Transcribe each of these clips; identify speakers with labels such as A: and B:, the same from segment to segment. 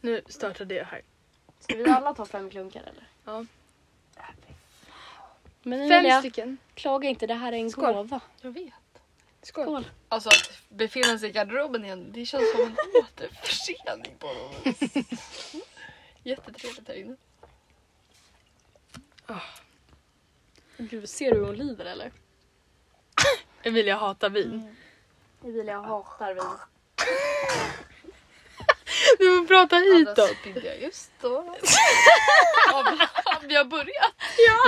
A: Nu startade jag här.
B: Ska vi alla ta fem klunkar eller?
A: Ja.
B: Men
A: Fem
B: Emilia,
A: stycken.
B: klaga inte. Det här är en
C: Skål.
B: gåva.
C: Jag vet.
A: Skål.
B: Skål.
C: Alltså att befinna sig i garderoben igen, det känns som en återförening på något vis. Jättetrevligt här inne.
A: Ah.
B: Gud, ser du hur hon lider eller? Mm.
A: Emilia hatar vin.
B: Emilia hatar vin.
A: Du får prata
C: Ja, där
A: hitåt.
C: spydde Alltså, jag just då. Av- Vi har börjat.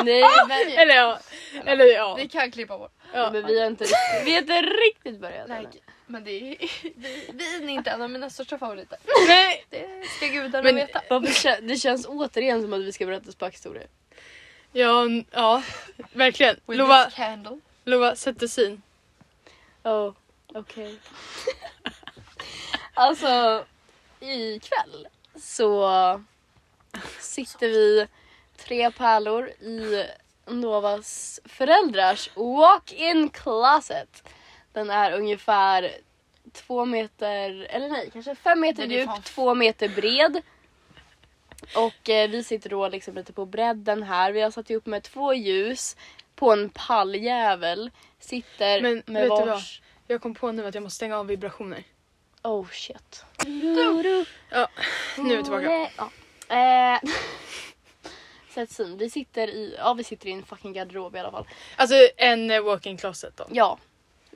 B: Nej, men,
A: Eller ja. Eller ja.
C: Vi kan klippa bort.
A: ja.
B: men vi har inte riktigt, vi har inte riktigt börjat
C: Nej,
B: ännu.
C: men det är, vi- vin är inte en av mina största favoriter.
A: Nej.
C: Det ska gudarna
A: Men-
C: veta.
B: Varför kä- det känns återigen som att vi ska berätta spökhistorier.
A: Ja, n- ja. Verkligen.
C: With
A: Lova,
C: this candle.
A: Lova sätt scen.
B: Ja, okej. alltså, ikväll så sitter vi tre pärlor i Novas föräldrars walk-in closet. Den är ungefär två meter, eller nej, kanske fem meter
C: Den är
B: djup,
C: fan-
B: två meter bred. Och eh, vi sitter då liksom lite på bredden här. Vi har satt ihop med två ljus på en palljävel. Sitter
A: Men
B: med
A: vet du
B: vars...
A: Jag kom på nu att jag måste stänga av vibrationer.
B: Oh shit.
A: Ja, nu är vi tillbaka.
B: Ja. Eh, Sätt syn. Vi sitter i, ja vi sitter i en fucking garderob i alla fall.
A: Alltså en eh, walk-in closet då.
B: Ja.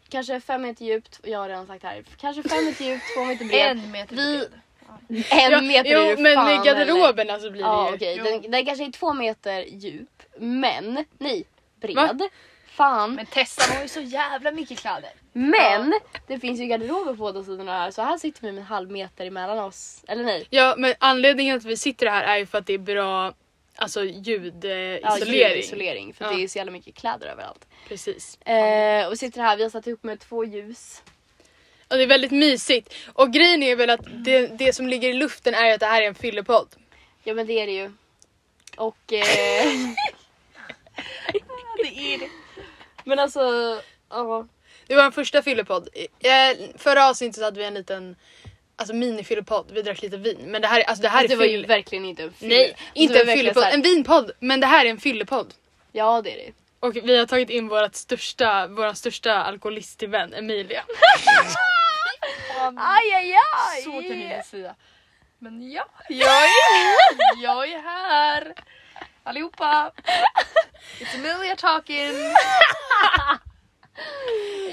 B: Kanske fem meter djupt, jag har redan sagt det här. Kanske fem meter djupt, två meter bred.
C: En meter
B: Vi-
C: bred.
B: En
A: Ja,
B: meter
A: jo,
B: är det
A: men
B: fan,
A: i garderoben alltså blir
B: Eller?
A: det
B: Ja
A: ju.
B: okej,
C: Jo.
B: den, den kanske är två meter djup. Men, nej, bred.
A: Va?
B: Fan. Men,
C: Men Tessa hon har ju så jävla mycket kläder.
B: det finns ju garderober på båda sidorna här så här sitter vi med en halv meter emellan oss. Eller nej.
A: Ja, men anledningen att vi sitter här är ju för att det är bra alltså, ljudisolering.
B: Ja, isolering. För
A: Ja.
B: det är så jävla mycket kläder överallt.
A: Precis.
B: Eh, och sitter här, vi har satt ihop med två ljus.
A: Och det är väldigt mysigt. Och grejen är väl att det, det som ligger i luften är ju att det här är en fyllepodd.
B: Ja men det är det ju. Och... Eh,
C: Ja, det är det.
B: men alltså, ja.
A: Det var en första fyllepodd. Eh, Förra avsnittet så hade vi en liten alltså, mini-fyllepodd. Vi drack lite vin. Men det här, alltså, det här
B: Det
A: är
B: var ju
A: fyll...
B: verkligen inte en fylla.
A: Nej, inte
B: Det
A: en
B: var verkligen
A: fyllepodd.
B: så här-
A: En vinpodd. Men det här är en fyllepodd.
B: Ja det är det.
A: Och vi har tagit in vårt största, våran största alkoholist till vän, Emilia.
B: Aj aj aj!
C: Så kan ni säga. Men ja,
A: Jag
C: jag är här. Allihopa. It's Amelia talking.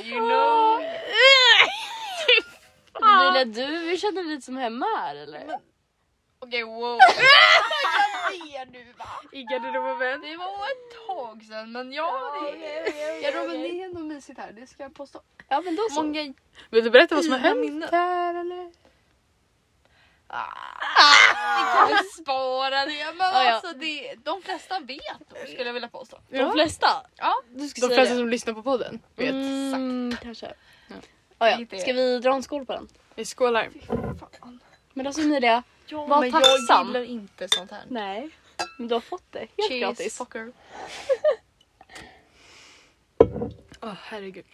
C: You know.
B: Emilia du vi känner dig lite som hemma här eller?
C: Okej wow. Vad gör du va?
A: I garderoben.
C: Det var ett tag sedan men ja. det- Garderoben det är ändå mysigt här, det ska jag påstå.
B: Ja men då så.
C: Många
A: Vill du berätta vad som har
C: Fina
A: hänt
C: minnen.
A: här eller?
C: Ah. Vi Ah, kan spara det. Men
B: Ja, ja.
C: alltså, det, de flesta vet då, skulle jag vilja påstå.
B: De flesta?
C: Ja.
B: Du ska
A: De
B: säga
A: flesta
B: det.
A: som lyssnar på podden vet.
B: Mm, kanske. Ah,
C: Det
B: ja.
C: är-
B: Ska vi dra en skål på den?
A: Vi skålar.
C: Fan.
B: Men alltså Emilia,
C: Ja,
B: Var
C: men
B: tacksam.
C: jag gillar inte sånt här.
B: Nej. Men du har fått det helt gratis.
C: fucker.
A: Åh herregud.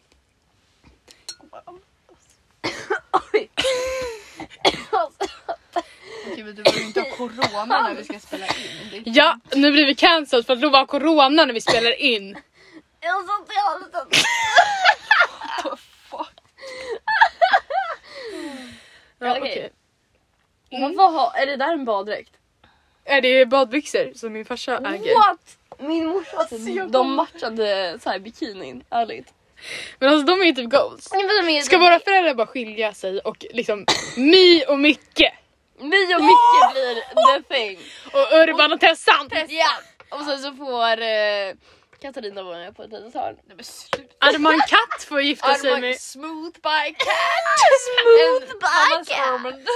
C: Okej, men du behöver inte ha corona när vi ska spela in. Det är
A: Ja, nu blir vi cancelled för att Lova har corona när vi spelar in.
B: Jag sa till halsen.
C: what the fuck.
A: Ja,
B: Okej.
A: okej.
B: Men vad har, är det där en baddräkt?
A: Är det badbyxor som min farsa
B: Ah,
A: äger?
B: What? Min morsa typ
C: jag
B: de
C: kommer-
B: matchade så här bikinin, ärligt.
A: Men alltså de är ju typ goals. Ska våra föräldrar bara skilja sig och liksom My och Micke
B: Mi och Micke blir the thing.
A: och Urban och Tessan.
B: Ja. Och sen så får eh, Katarina vara med på ett litet hörn.
C: Nej men sluta.
A: Arman Katt får gifta sig
C: Armar
A: med...
C: smooth by cat.
B: Smooth
C: En
B: by
C: Thomas
B: cat.
C: Ormond.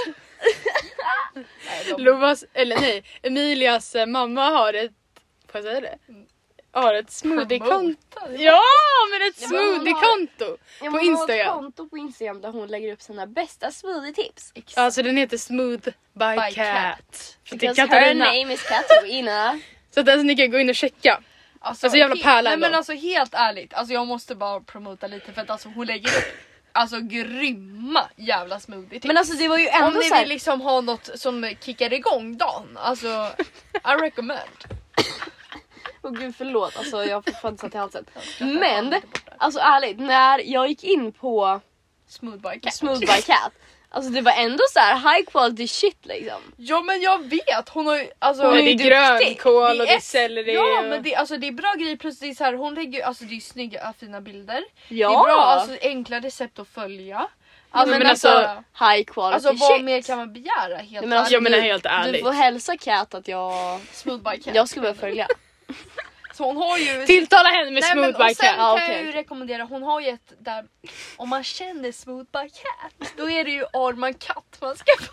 C: Nej, de-
A: Lovas, eller nej, Emilias eh, mamma har ett... Får jag säga det? Har ett smoothiekonto.
C: Promota.
A: Ja, men ett
B: Ja, men hon har-
A: smoothiekonto!
B: Ja, men
A: På
B: hon har ett
A: Instagram.
B: konto på Instagram där hon lägger upp sina bästa smoothie-tips.
A: Alltså den heter smooth by,
C: By
A: cat.
C: cat.
A: För det är
B: Because her
A: Katarina.
B: name is Katarina.
A: Så att alltså, ni kan gå in och checka. Alltså, jävla
C: he-
A: pärlan
C: Nej men
A: då.
C: alltså helt ärligt, alltså jag måste bara promota lite för att alltså hon lägger upp alltså grymma jävla smoothies.
B: Men alltså det var ju
C: Om
B: ändå
C: ni
B: så här,
C: vill liksom ha något som kickar igång dagen, alltså I recommend.
B: Åh gud förlåt alltså jag får fan satt i halsen.
C: Jag
B: Men
C: tar bort det.
B: alltså ärligt, när jag gick in på
C: Smooth by cat.
B: Smooth by Cat, alltså det var ändå så här high quality shit liksom.
C: Ja men jag vet, hon har ju alltså...
B: Hon
A: Det
B: är
A: är
B: duktig.
A: grönkål och det är
C: S-
A: selleri.
C: Ja
A: och-
C: men det, alltså, det är bra grejer plus det är så här, hon lägger ju- alltså det är snygga fina bilder.
B: Ja!
C: Det är bra, alltså enkla recept att följa. Alltså,
A: men
C: men alltså,
A: alltså,
C: alltså,
B: high quality
C: vad
B: shit.
C: Alltså, mer kan man begära helt
B: Nej, men alltså,
A: Jag menar
B: du-
A: helt
B: Du
A: ärligt.
B: får hälsa Cat att jag,
C: Smooth by cat.
B: jag skulle börja följa.
C: Så hon har ju...
A: Tilltala henne med
C: Nej, men,
A: smooth by
C: och sen
A: cat.
B: Ja,
C: kan jag
B: okej.
C: ju rekommendera, hon har ju ett där om man känner smooth by cat då är det ju Arman katt man ska få.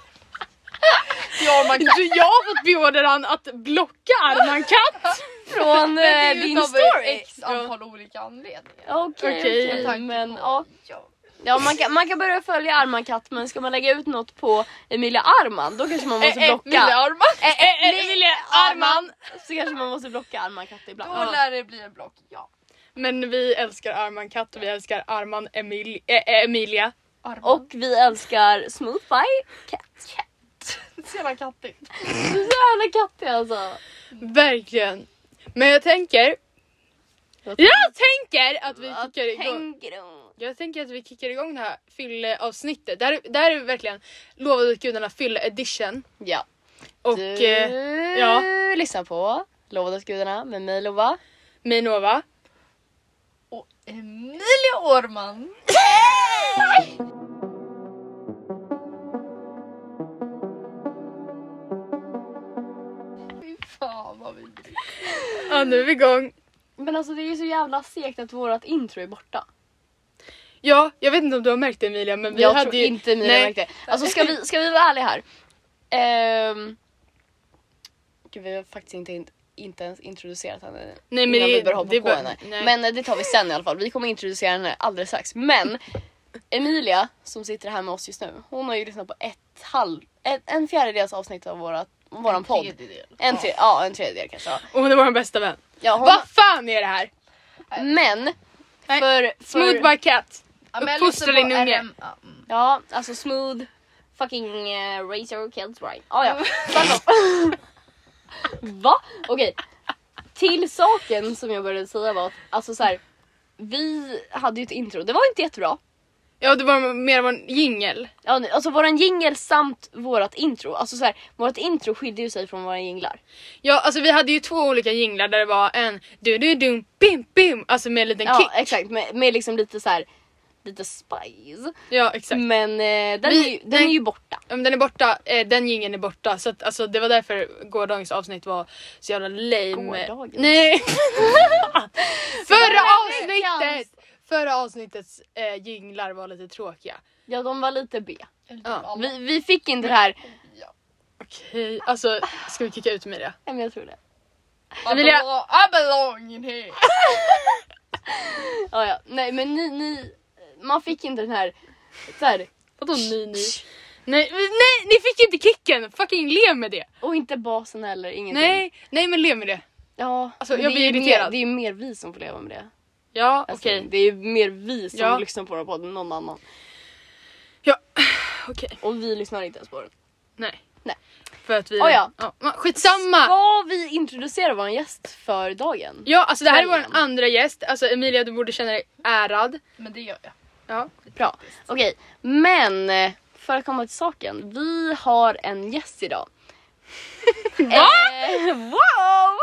C: Det är Arman katt.
A: Du, jag har fått beordran att blocka Arman Katt.
B: Från
C: Men det är
B: eh,
C: ju
B: din
C: utav
B: story.
C: X antal olika anledningar.
A: Okej.
B: Okej, okej,
C: Med tanke
B: men
C: på-
B: ja.
C: ja.
B: ja man, kan, man kan börja följa Arman Katt men ska man lägga ut något på Emilia Arman då kanske man måste
C: Eh, eh,
B: blocka.
C: Arman.
B: Eh, eh,
A: Eh, Emilia Arman.
B: Så kanske man måste blocka Arman Katt ibland.
C: Då lär det bli en block. Ja.
A: Men vi älskar Arman Katt och vi älskar Arman Emil- eh, eh, Emilia.
C: Arman.
B: Och vi älskar Smooth by Cat.
C: så jävla kattigt.
B: Så jävla kattig alltså.
A: Verkligen. Men jag tänker...
B: Jag
A: Jag tänker att vi kickar igång.
B: tänker hon?
A: Jag tänker att vi kickar igång det här fylleavsnittet. Det här, det här är verkligen lovade gudarna fylle edition.
B: Ja.
A: Och
B: Du
A: eh, ja.
B: lyssnar på Lovad åt gudarna med mig Lova.
A: Minova.
C: Och Emilia Orman. Fy fan vad vi
A: Ja, nu är vi igång.
B: Men alltså det är ju så jävla segt att vårat intro är borta.
A: Ja, jag vet inte om du har märkt det Emilia, men vi
B: jag
A: hade
B: tror
A: ju...
B: inte Emilia
A: Nej.
B: märkte det. Alltså ska vi, ska vi vara ärliga här? Ehm... Gud vi har faktiskt inte, in- inte ens introducerat henne
A: Nej, men
B: innan
A: det-
B: vi börjar hoppa
A: det
B: på
A: bör-
B: henne.
A: nej.
B: Men eh, det tar vi sen i alla fall. Vi kommer introducera henne alldeles strax. Men Emilia som sitter här med oss just nu. Hon har ju lyssnat på ett halv, en, en fjärdedels avsnitt av vårat, våran podd. En, tre, ja, en tredjedel kanske. ja.
A: Och hon är vår bästa vän.
B: Ja, hon,
A: Vad fan är det här?
B: Men
A: Nej.
B: för, för
A: Smooth by cat. Uppfostra din unge.
C: mm.
B: Ja, alltså smooth fucking uh, raise your kids right. Ah, ja. Va? Okej. Till saken som jag började säga var att alltså så här, vi hade ju ett intro. Det var inte jättebra.
A: Ja, det var mer av en jingel.
B: Ja, nu- Alltså våran jingel samt vårat intro. Alltså så här, vårat intro skilde ju sig från våra jinglar.
A: Ja, alltså vi hade ju två olika jinglar där det var en du du dum bim bim alltså med en liten
B: Ja,
A: kick.
B: exakt. Med, med liksom lite så här lite spice.
A: Ja, exakt.
B: Men eh, den,
A: Vi-
B: är ju, den är ju borta.
A: Ja, men Den är borta, eh, den jingeln är borta så att, alltså, det var därför gårdagens avsnitt var så jävla lame.
B: Gårdagens?
A: Nej! förra
B: veckans.
A: avsnittet! Förra avsnittets eh, jinglar var lite tråkiga.
B: Ja, de var lite B.
A: Ja.
C: typ
B: Vi, vi fick inte det här.
A: Okej, alltså ska vi kicka ut Emilia?
B: Nej, men jag tror det.
A: Emilia.
C: I belong in here.
B: Ja, ja. Nej men ni, ni, man fick inte den här, så här
A: Vadå ni ni? Nej, nej, ni fick inte kicken! Fucking lev med det!
B: och inte basen heller, ingenting.
A: Nej, nej men lev med det.
B: Ja,
A: Alltså,
B: men
A: jag
B: det
A: blir
B: är ju
A: irriterad.
B: Mer, det är ju mer vi som får leva med det.
A: Ja,
B: Alltså,
A: okej.
B: Det är ju mer vi som
A: Ja.
B: lyssnar på den podden än någon annan.
A: Ja, okej.
B: Och vi lyssnar inte ens på den.
A: Nej.
B: Nej.
A: För att vi...
B: Oh, ja.
A: men skitsamma!
B: Ska vi introducera vår gäst för dagen?
A: Ja, alltså det här är vår
B: Kvällen.
A: andra gäst. Alltså Emilia, du borde känna dig ärad.
C: Men det gör jag.
A: Ja.
B: Bra. Okej, men eh, för att komma till saken. Vi har en gäst idag. Va? Eh, wow!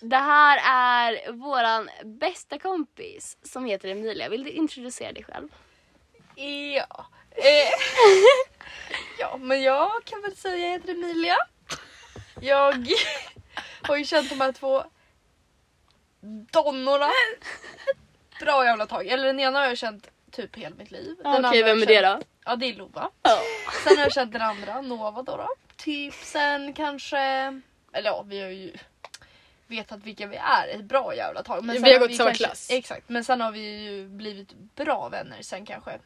B: Det här är våran bästa kompis som heter Emilia. Vill du introducera dig själv?
C: Ja. Eh, ja, men jag kan väl säga jag heter Emilia. Jag har ju känt de här två donnorna ett bra jävla tag. Eller den ena har jag känt typ hela mitt liv. Den andra har jag känt-
B: då?
C: Ja, det är Lova.
B: Ja.
C: Sen har jag känt den andra, Nova då. då. Typ sen kanske... Eller ja, vi har ju vetat vilka vi är ett bra jävla tag.
A: Vi
C: sen
A: har gått samma
C: kanske,
A: klass.
C: Exakt, men sen har vi ju blivit bra vänner sen kanske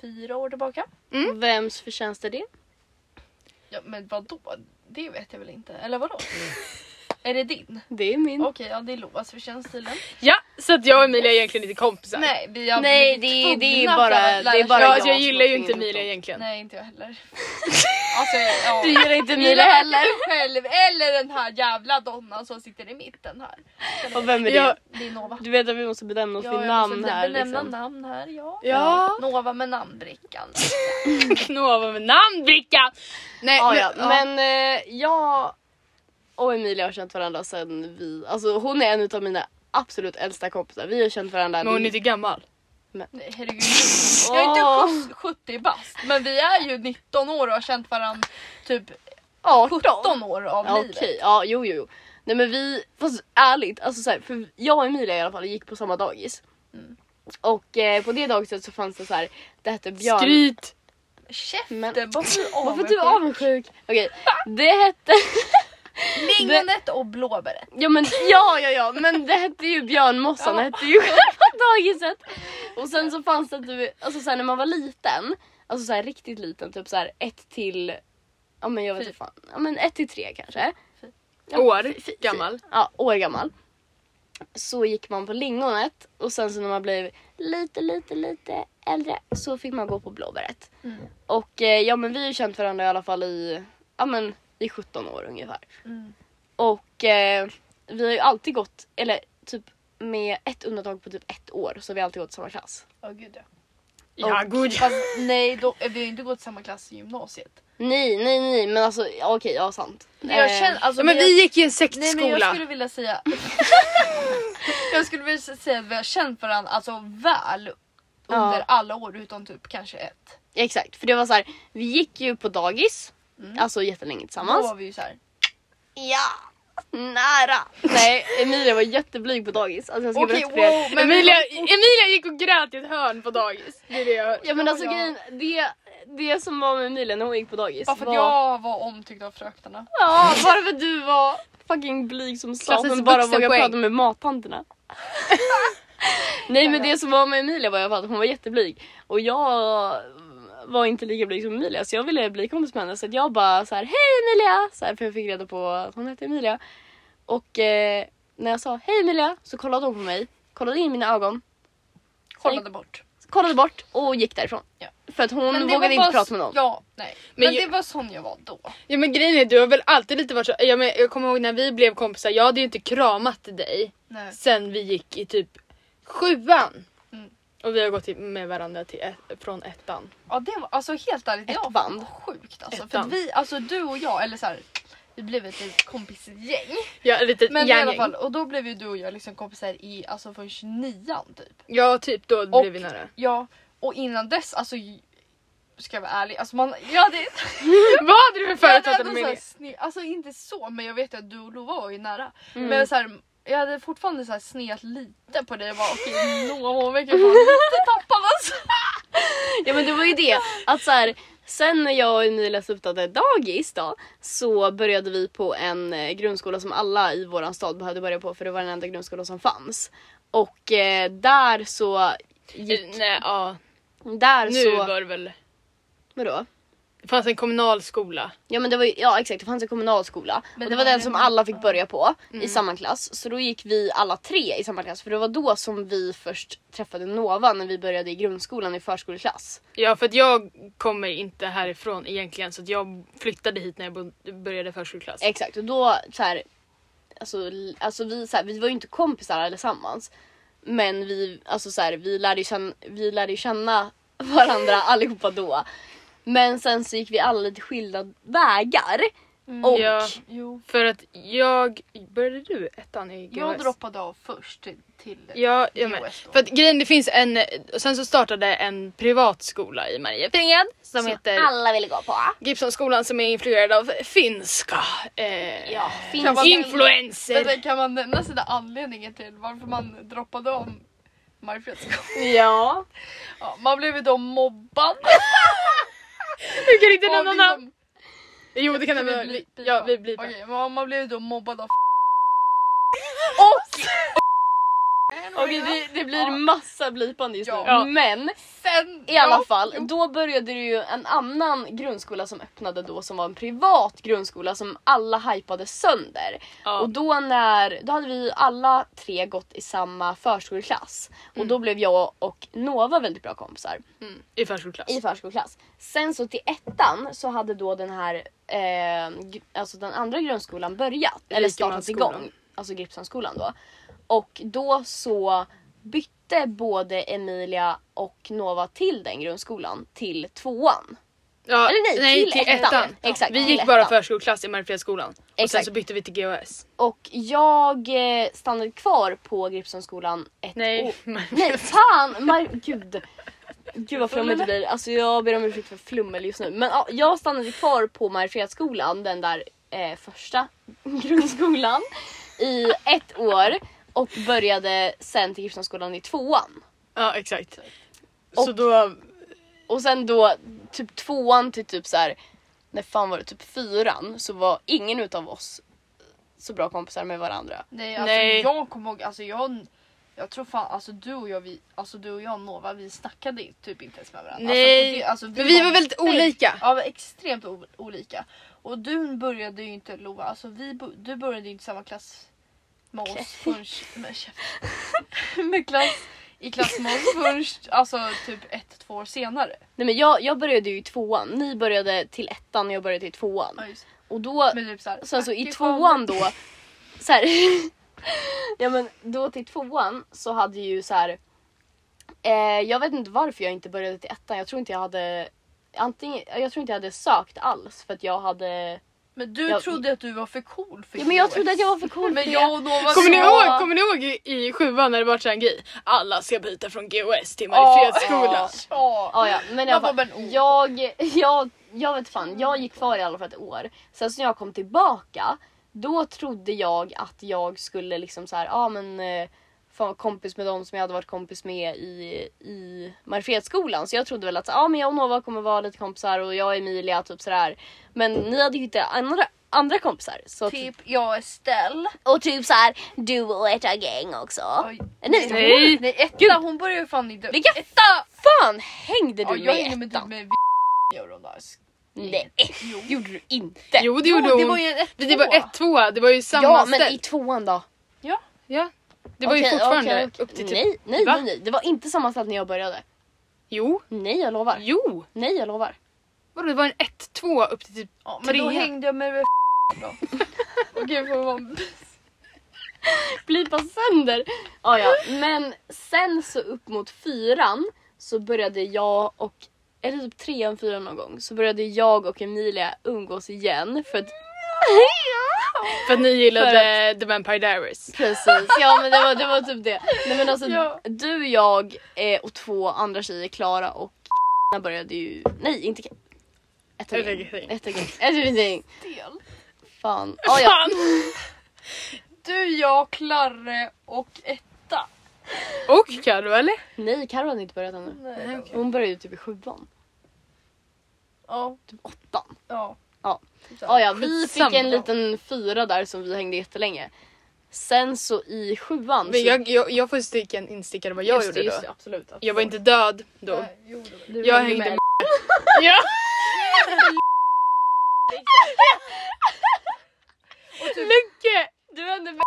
C: fyra år tillbaka.
B: Vems förtjänst är det?
C: Ja, men vadå? Det vet jag väl inte. Eller vadå? Är det din?
B: Det är min.
C: Okej, ja det är Lovas förtjänst tydligen.
A: Ja, så att jag och Emilia är egentligen inte kompisar.
C: Nej, vi har
B: Nej,
C: blivit
B: det är- det är
C: tvungna
B: bara-
C: att lära
B: det är bara
A: ja,
B: jag
C: känna
A: jag,
B: som
A: jag
B: har
A: gillar ju
B: tvingat
A: inte
B: dem.
A: Emilia egentligen.
C: Nej, inte jag heller. alltså, ja.
B: Du gillar inte Mila
C: Gillar
B: heller.
C: inte mig själv eller den här jävla donnan som sitter i mitten här.
B: Och vem är det?
A: Ja,
C: Det är Nova.
B: Du vet att vi måste benämna oss
C: Ja,
B: vid
C: jag
B: namn
C: måste
B: här.
C: benämna
B: Liksom.
C: namn här. Ja.
A: Ja,
C: Nova med namnbrickan.
A: Nova med namnbricka! Nej,
B: Ja, ja.
A: Ah, ja.
B: Men eh, jag och Emilia har känt varandra sedan vi... Alltså hon är en av mina absolut äldsta kompisar. Vi har känt varandra...
A: men hon är inte gammal.
C: Nej, herregud. Jag är inte 70 bast, men vi är ju 19 år och har känt varandra typ 17 år av
B: Ja, Okej,
C: livet.
B: ja jo jo jo. Nej men vi, fast ärligt, alltså så här, för jag och Emilia i alla fall gick på samma dagis.
C: Mm.
B: Och eh, på det dagiset så fanns det så här, det hette Björn...
A: Skryt!
C: Käften,
B: Men-
C: varför är
B: Varför är du avundsjuk? Okej, det hette...
C: Lingonet och blåbäret.
B: Ja men ja ja ja, men det hette ju Björnmossan, det hette ju själva dagiset. Och sen så fanns det du, alltså så här, när man var liten, alltså så här, riktigt liten, typ så här ett till, ja men jag vet inte fan, ja men ett till tre kanske. Ja,
A: År
B: fi- fi-
A: gammal.
B: Ja, år gammal. Så gick man på lingonet och sen så när man blev lite, lite, lite äldre så fick man gå på blåbäret.
C: Mm.
B: Och eh, ja men vi har ju känt varandra i alla fall i, ja men i 17 år ungefär.
C: Mm.
B: Och eh, vi har ju alltid gått, eller typ med ett undantag på typ ett år så har vi alltid gått i samma klass.
C: Ja, gud ja.
A: Ja, god.
C: Fast, nej, då, vi har ju inte gått samma klass i gymnasiet.
B: Nej, nej, nej men alltså ja, okej, ja sant.
C: Jag
B: Eh,
C: känner, alltså,
A: Ja, men
C: vi har-
A: vi gick i en
C: Nej men jag
A: sektskola.
C: skulle vilja säga Jag skulle vilja säga att vi har känt varandra alltså väl under
B: Ja.
C: alla år utom typ kanske ett.
B: Exakt, för det var så här, vi gick ju på dagis,
C: Mm.
B: alltså jättelänge
C: Då
B: tillsammans.
C: var vi ju såhär.
B: Ja! Nära! Nej, Emilia var jätteblyg på dagis. Alltså jag ska
C: Okej
B: berätta för er.
C: wow men
A: Emilia, Emilia gick och grät i ett hörn på dagis. Det är det jag...
B: Ja men alltså
C: Ja, ja.
B: grejen, det, det som var med Emilia när hon gick på dagis
C: Bara för att jag var omtyckt av fröknarna.
B: Ja, bara för att du var fucking blyg som
A: Klassens
B: satan bara vågade
A: vuxenpoäng.
B: prata med mattanterna. Nej men
C: Ja, ja.
B: det som var med Emilia var i alla fall att hon var jätteblyg och jag var inte lika blyg som Emilia så jag ville bli kompis med henne så att jag bara så här hej Emilia! Så här, för jag fick reda på att hon hette Emilia. Och eh, när jag sa hej Emilia så kollade hon på mig, kollade in i mina ögon,
C: Kollade bort.
B: kollade bort och gick därifrån.
C: Ja.
B: För att hon
C: det var
B: vågade inte
C: bara
B: prata
C: så-
B: med någon.
C: Ja, nej. Men,
A: Men ju-
C: det var sån jag var då.
A: Ja men grejen är du har väl alltid lite varit så, ja, men jag kommer ihåg när vi blev kompisar, jag hade ju inte kramat dig
C: Nej.
A: sen vi gick i typ sjuan.
C: Mm.
A: Och vi har gått i- med varandra till ett, från ettan.
C: Ja det var alltså helt ärligt, det
B: Ett
C: var
B: band.
C: sjukt alltså.
A: Ett
C: för att
A: band.
C: vi, alltså du och jag, eller såhär vi blev ett litet kompisgäng.
A: Ja, lite
C: Men i alla
A: järngäng.
C: fall, och då blev ju du och jag liksom kompisar i alltså från 29 typ.
A: Ja typ då
C: Och-
A: blev vi nära.
C: Ja, och innan dess, alltså j- ska jag vara ärlig, alltså man, jag hade,
A: Vad hade du för
C: jag hade ändå
A: förutfattade
C: såhär,
A: mening?
C: sne, alltså inte så men jag vet ju att du och Lova var ju nära.
B: Mm.
C: Men såhär, jag hade fortfarande såhär snett lite på dig och bara okej Nova hon verkar vara lite tappad alltså.
B: Ja men det var ju det att så här, sen när jag och Emilia slutade dagis då så började vi på en eh, grundskola som alla i våran stad behövde börja på för det var den enda grundskolan som fanns. Och eh, där så gick,
A: Nej ja,
B: där
A: Eh, nu
B: så,
A: var det väl...
B: vadå?
A: Det fanns en kommunal skola.
B: Ja men det var ju, ja exakt det fanns en kommunalskola
C: Men
B: och
C: det
B: det var
C: var
B: den
C: ju-
B: som alla fick börja på i
A: Mm.
B: samma klass. Så då gick vi alla tre i samma klass för det var då som vi först träffade Nova när vi började i grundskolan i förskoleklass.
A: Ja för att jag kommer inte härifrån egentligen så att jag flyttade hit när jag bo- började förskoleklass.
B: Exakt och då så här, alltså, l- alltså vi, så här, vi var ju inte kompisar allesammans. Men vi, alltså så här, vi, lärde ju känna, vi lärde ju känna varandra allihopa då. Men sen så gick vi alla lite skilda vägar. och
A: Ja.
C: Jo.
A: För att jag... Började du ettan i GHS?
C: Jag droppade av först till, till
A: Ja, jag med.
C: GHS då.
A: För att grejen, det finns en... och Sen så startade en privatskola i Mariefred som
B: som
A: heter
B: alla ville gå på.
A: Gibsonskolan som är influerad av finska eh,
B: Ja,
C: kan man-
A: influenser.
C: Vänta, kan man nämna sina anledningar till varför man droppade av Mariefredsskolan?
B: Ja.
C: Ja, man blev ju då mobbad.
A: Du kan inte
C: av
A: nämna
C: liksom-
A: namn. Jo, det kan
C: Ska
A: nämna.
C: vi bli-
A: Ja, vi blir
C: Okej, men man blev då mobbad av
A: Och
C: and
B: Okej det, det blir massa blipande just nu.
C: Ja.
B: Men
C: Sen,
B: i alla
C: ja,
B: fall,
C: jo.
B: då började det ju en annan grundskola som öppnade då som var en privat grundskola som alla hypade sönder.
A: Ja.
B: Och då när, då hade vi alla tre gått i samma förskoleklass. Och då blev jag och Nova väldigt bra kompisar
A: I förskoleklass.
B: i förskoleklass. Sen så till ettan så hade då den här, eh, gr- alltså den andra grundskolan börjat. Eller startat
A: Rikemansskolan.
B: igång. Alltså Gripsholmsskolan då. Och då så bytte både Emilia och Nova till den grundskolan till tvåan.
A: Ja,
B: Eller nej, till ettan. Exakt,
A: vi
B: till
A: gick bara
B: ettan.
A: förskoleklass i Mariefredsskolan. Och sen
B: Exakt.
A: så bytte vi till GHS.
B: Och jag eh, stannade kvar på Gripsholmsskolan ett
A: Nej,
B: år.
A: Mariefred-
B: Nej fan! Mar- gud. Gud vad flummigt det blir. Alltså jag ber om ursäkt för flummel just nu. Men ja, jag stannade kvar på Mariefredsskolan, den där eh, första grundskolan, i ett år och började sen till Gripsholmsskolan i tvåan.
A: Ja exakt. så
B: Och-
A: då,
B: Och sen då typ tvåan till typ så här, när fan var det, typ fyran så var ingen utav oss så bra kompisar med varandra.
C: Nej, alltså
A: Nej.
C: jag kommer ihåg, alltså jag, jag tror fan, alltså du och jag, vi, alltså du och jag Nova, vi snackade typ inte ens med varandra.
A: Nej,
C: alltså, och det- alltså,
A: men vi var väldigt olika.
C: Ja, vi var extremt o- olika. Och du började ju inte, Lova, alltså vi, bo- du började ju inte samma klass med oss förrän, med, käften. med klass, i klass med oss först, alltså typ ett, två år senare.
B: Nej men jag, jag började ju i tvåan, ni började till ettan och jag började till tvåan.
C: Ja, just.
B: Och då
C: Men typ så här,
B: Sen så alltså, i
C: tack, fan.
B: tvåan då, så här, ja men då till tvåan så hade ju så här. Eh, jag vet inte varför jag inte började till ettan. Jag tror inte jag hade antingen, jag tror inte jag hade sökt alls för att jag hade.
C: Men du
B: Jag-
C: trodde att du var för cool för
B: Ja, men jag
C: GHS.
B: trodde att jag var för cool för
C: Men
B: det.
C: jag och Nova
A: kommer, ni
C: så-
A: ihåg, kommer ni ihåg i, i sjuan när det var en grej? Alla ska byta från GHS till Mariefredsskolan.
B: Ja.
C: Ja.
B: Ja, ja, men i
C: Vad
B: alla
C: var
B: fall,
C: men ord?
B: jag, jag, jag vet fan, jag gick kvar i alla fall ett år. Sen så när jag kom tillbaka, då trodde jag att jag skulle liksom så här, ja ah, men eh, fan vara kompis med dem som jag hade varit kompis med i, i Mariefredsskolan. Så jag trodde väl att ja ah, men jag och Nova kommer vara lite kompisar och jag och Emilia typ sådär. Men ni hade ju inte andra, andra kompisar. Så typ.
C: Typ jag och Estelle.
B: Och typ såhär, du och ert gäng också.
C: Oj.
B: Nej,
A: Nej.
C: Nej etta hon började ju fan i dörren.
B: Vilka fan hängde du
C: Ja, jag hängde
B: med
C: med
B: ettan?
C: typ med gör hon där.
B: Nej,
C: Jo.
B: gjorde du inte.
A: Jo det
C: Jo,
A: gjorde hon.
C: det var ju en ett,
A: det var ett tvåa, det var ju samma
B: ja, men
A: ställ.
B: i tvåan då?
C: Ja.
A: Ja. Det var ju
B: Okej,
A: fortfarande
B: okej, okej.
A: upp till typ...
B: nej, nej,
A: Va?
B: nej, nej, det var inte samma ställe när jag började.
A: Jo.
B: Nej, jag lovar.
A: Jo.
B: Nej, jag lovar.
A: Vadå det var en ett tvåa upp till typ...
C: Ja, men då
A: Trea.
C: hängde jag med då. Okej får man...
B: Blipa sönder. Ja, ja, men sen så upp mot fyran så började jag och eller typ trean, fyran någon gång så började jag och Emilia umgås igen för att
A: För att ni
B: För
A: gillade The Vampire Diaries.
B: Precis, ja men det var, det var typ det. Nej men alltså
C: Ja.
B: du, jag eh, och två andra tjejer, Klara och började ju, nej inte ett och
A: Ett
B: gäng.
A: och gäng.
B: Ett och gäng. Ett och gäng.
C: Del.
B: Fan. Ah, ja.
A: Fan!
C: Du, jag, Klarre och etta.
A: Och Carro eller?
B: Nej Carro hade inte börjat ännu.
C: Nej.
B: Hon började ju typ i sjuan,
C: Ja.
B: typ åttan.
C: Ja.
B: Ja.
C: Typ så här.
B: Ah, ja, vi
A: Skitsamma.
B: fick en liten fyra där som vi hängde jättelänge. Sen så i sjuan
A: Men
B: så...
A: jag, jag, jag får sticka en instickare vad jag
B: Just det,
A: gjorde
B: just
A: då.
B: det, absolut.
A: Jag var inte död då.
C: Nej, jo, det var det.
A: jag hängde med. ja.
C: Och typ,
A: Lucke! Du hände med.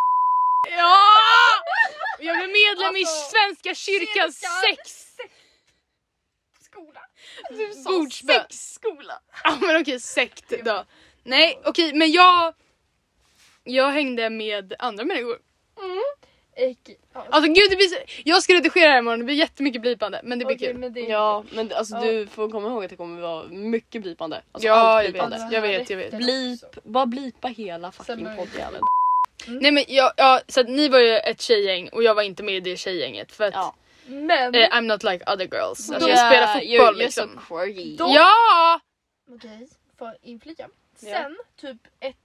A: Ja! Jag blev medlem
C: Alltså,
A: i Svenska kyrkans
C: kyrkan.
A: sex.
C: skola.
B: du
A: sa
B: skola.
A: Ja men okej, sekt då. Nej okej men jag... Jag hängde med andra människor.
C: Ek- ja.
A: Alltså gud det blir så... Jag ska redigera det här imorgon, det blir jättemycket blipande men det blir
C: Okej,
A: kul.
C: men det är-
B: Ja, men alltså
C: Ja.
B: du får komma ihåg att det kommer vara mycket blipande. Alltså
A: Ja
B: allt
A: jag
B: blipande.
A: vet, jag vet, jag vet.
B: Blip, bara blipa hela
C: Sen
B: fucking
C: börjar-
B: poddjäveln.
A: Nej men jag, ja, så att ni var ju ett tjejgäng och jag var inte med i det tjejgänget för att
B: Ja.
C: Men...
A: eh, I'm not like other girls. Alltså,
B: Yeah,
A: jag spelar fotboll
B: you're,
A: liksom.
B: You're so quirky.
C: Då-
A: Ja!
C: Okej, får inflika.
A: Ja.
C: Sen typ ett,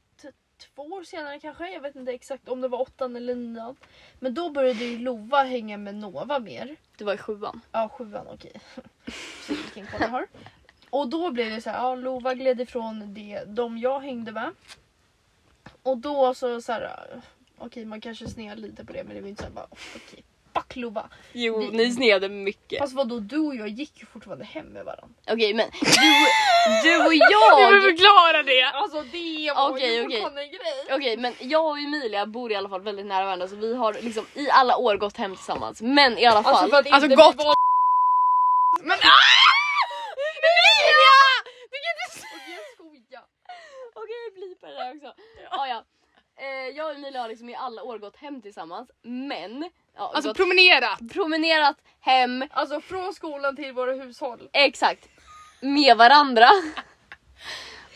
C: två år senare kanske, jag vet inte exakt om det var åttan eller nian. Men då började ju Lova hänga med Nova mer.
B: Det var i sjuan.
C: Ja, sjuan okej. Så vilken koll jag har. Och då blev det så här, ja Lova gled ifrån det, de jag hängde med. Och då så så här, okej man kanske snear lite på det men det var ju inte så här bara, okej fuck Lova.
B: Jo,
C: Vi-
B: ni sneade mycket.
C: Fast vadå du och jag gick ju fortfarande hem med varandra.
B: Okej, men du, du och
A: Jag vill
B: jag...
A: förklara det!
C: Alltså det var
B: Okej,
C: ju
B: okej.
C: fortfarande en grej.
B: Okej, men jag och Emilia bor i alla fall väldigt nära varandra så vi har liksom i alla år gått hem tillsammans. Men i alla fall.
C: Alltså, för att
A: Alltså
C: inte
A: gott!
C: bli vald-
A: Men Emilia! Du kan inte säga-
C: Okej, jag skojar.
B: Okej, jag blipar det där också. Ja, ja. Eh, jag och Emilia har liksom i alla år gått hem tillsammans, men... Ja,
A: Alltså
B: gått,
A: promenera!
B: promenerat hem,
C: Alltså från skolan till våra hushåll.
B: exakt, med varandra.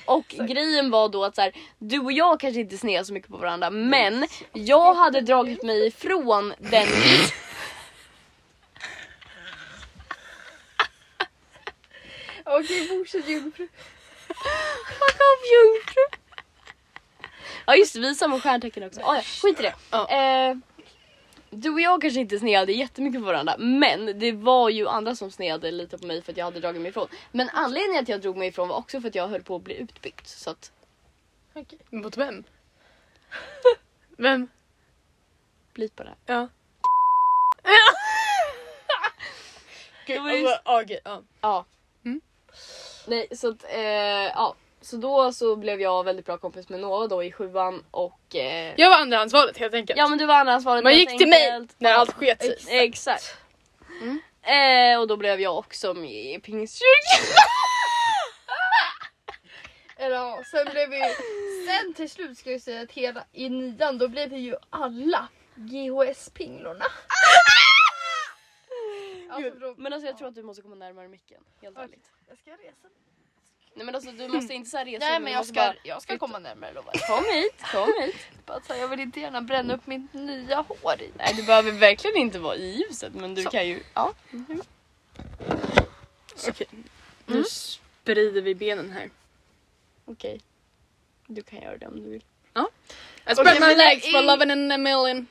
B: Och grejen var då att så här, du och jag kanske inte snear så mycket på varandra, men jag hade dragit mig ifrån den...
C: Okej fortsätt jungfru.
B: Ja just det, vi är samma stjärntecken också. Ah, ja, skit i det.
A: Ja.
B: Eh, du och jag kanske inte sneade jättemycket på varandra men det var ju andra som sneade lite på mig för att jag hade dragit mig ifrån. Men anledningen till att jag drog mig ifrån var också för att jag höll på att bli utbytt. Så att,
C: Okej.
A: Mot vem? Vem?
B: bli på det. här.
A: Ja. Gud,
B: Det var ju-
A: alltså, ja, okej, ja.
B: Ja.
A: Mm.
B: Nej så att, eh, ja. Så då så blev jag väldigt bra kompis med Nova då i sjuan och... Eh,
A: Jag var andrahandsvalet helt enkelt.
B: ja men du var andrahandsvalet
A: Man
B: helt
A: gick till mig
B: enkelt.
A: när allt sket sig.
B: Exakt.
A: Mm.
B: Eh, och då blev jag också med i Pingstkyrkan.
C: Eller ja, sen blev vi Sen till slut ska jag säga att hela i nian då blev vi ju alla GHS-pinglorna. Alltså,
B: Gud,
C: bro,
B: Men alltså jag
C: ja.
B: tror att du måste komma närmare micken. Helt
C: Okej.
B: ärligt.
C: Jag ska resa.
B: Nej men alltså du måste inte såhär resa
C: Nej
B: dig,
C: men
B: du
C: jag
B: måste
C: ska,
B: bara-
C: jag ska komma närmare lovar.
B: Kom hit, kom hit.
C: Bara så här, Jag vill inte gärna bränna upp mitt nya hår i.
B: Nej du behöver verkligen inte vara i ljuset men du
C: Så.
B: kan ju. Ja.
A: Okej. Nu sprider vi benen här.
B: Okej. Du kan göra det om du vill.
A: I spread
C: Okej, men
A: my legs
C: i-
A: for loving in a million.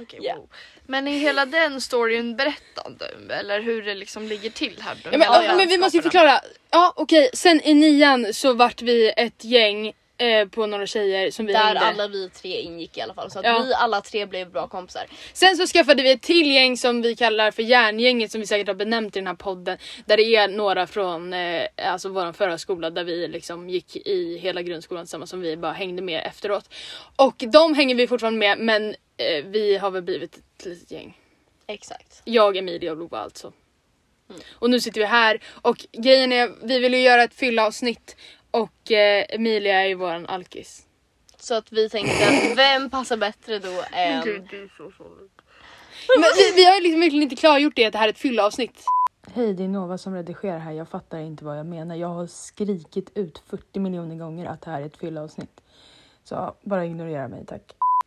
C: Okej,
B: Ja.
C: wow. Men i hela den storyn berättande eller hur det liksom ligger till här.
A: Ja, men,
B: Ja, ja.
A: men vi måste ju förklara. Ja okej, sen i nian så vart vi ett gäng eh, på några tjejer som vi
B: Där
A: hängde.
B: alla vi tre ingick i alla fall så att
A: Ja.
B: vi alla tre blev bra kompisar.
A: Sen så skaffade vi ett till gäng som vi kallar för järngänget som vi säkert har benämnt i den här podden. Där det är några från eh, alltså vår förra skola där vi liksom gick i hela grundskolan tillsammans som vi bara hängde med efteråt. Och de hänger vi fortfarande med men eh, vi har väl blivit ett litet gäng.
B: Exakt.
A: Jag, Emilia och Lova alltså. Och nu sitter vi här och grejen är vi vill ju göra ett fyllaavsnitt och eh, Emilia är ju våran alkis.
B: Så att vi tänkte att vem passar bättre då än...
A: Men vi, vi har ju liksom verkligen inte klargjort det att det här är ett fyllaavsnitt.
D: Hej, det är Nova som redigerar här. Jag fattar inte vad jag menar. Jag har skrikit ut 40 miljoner gånger att det här är ett fyllavsnitt. Så bara ignorera mig, tack.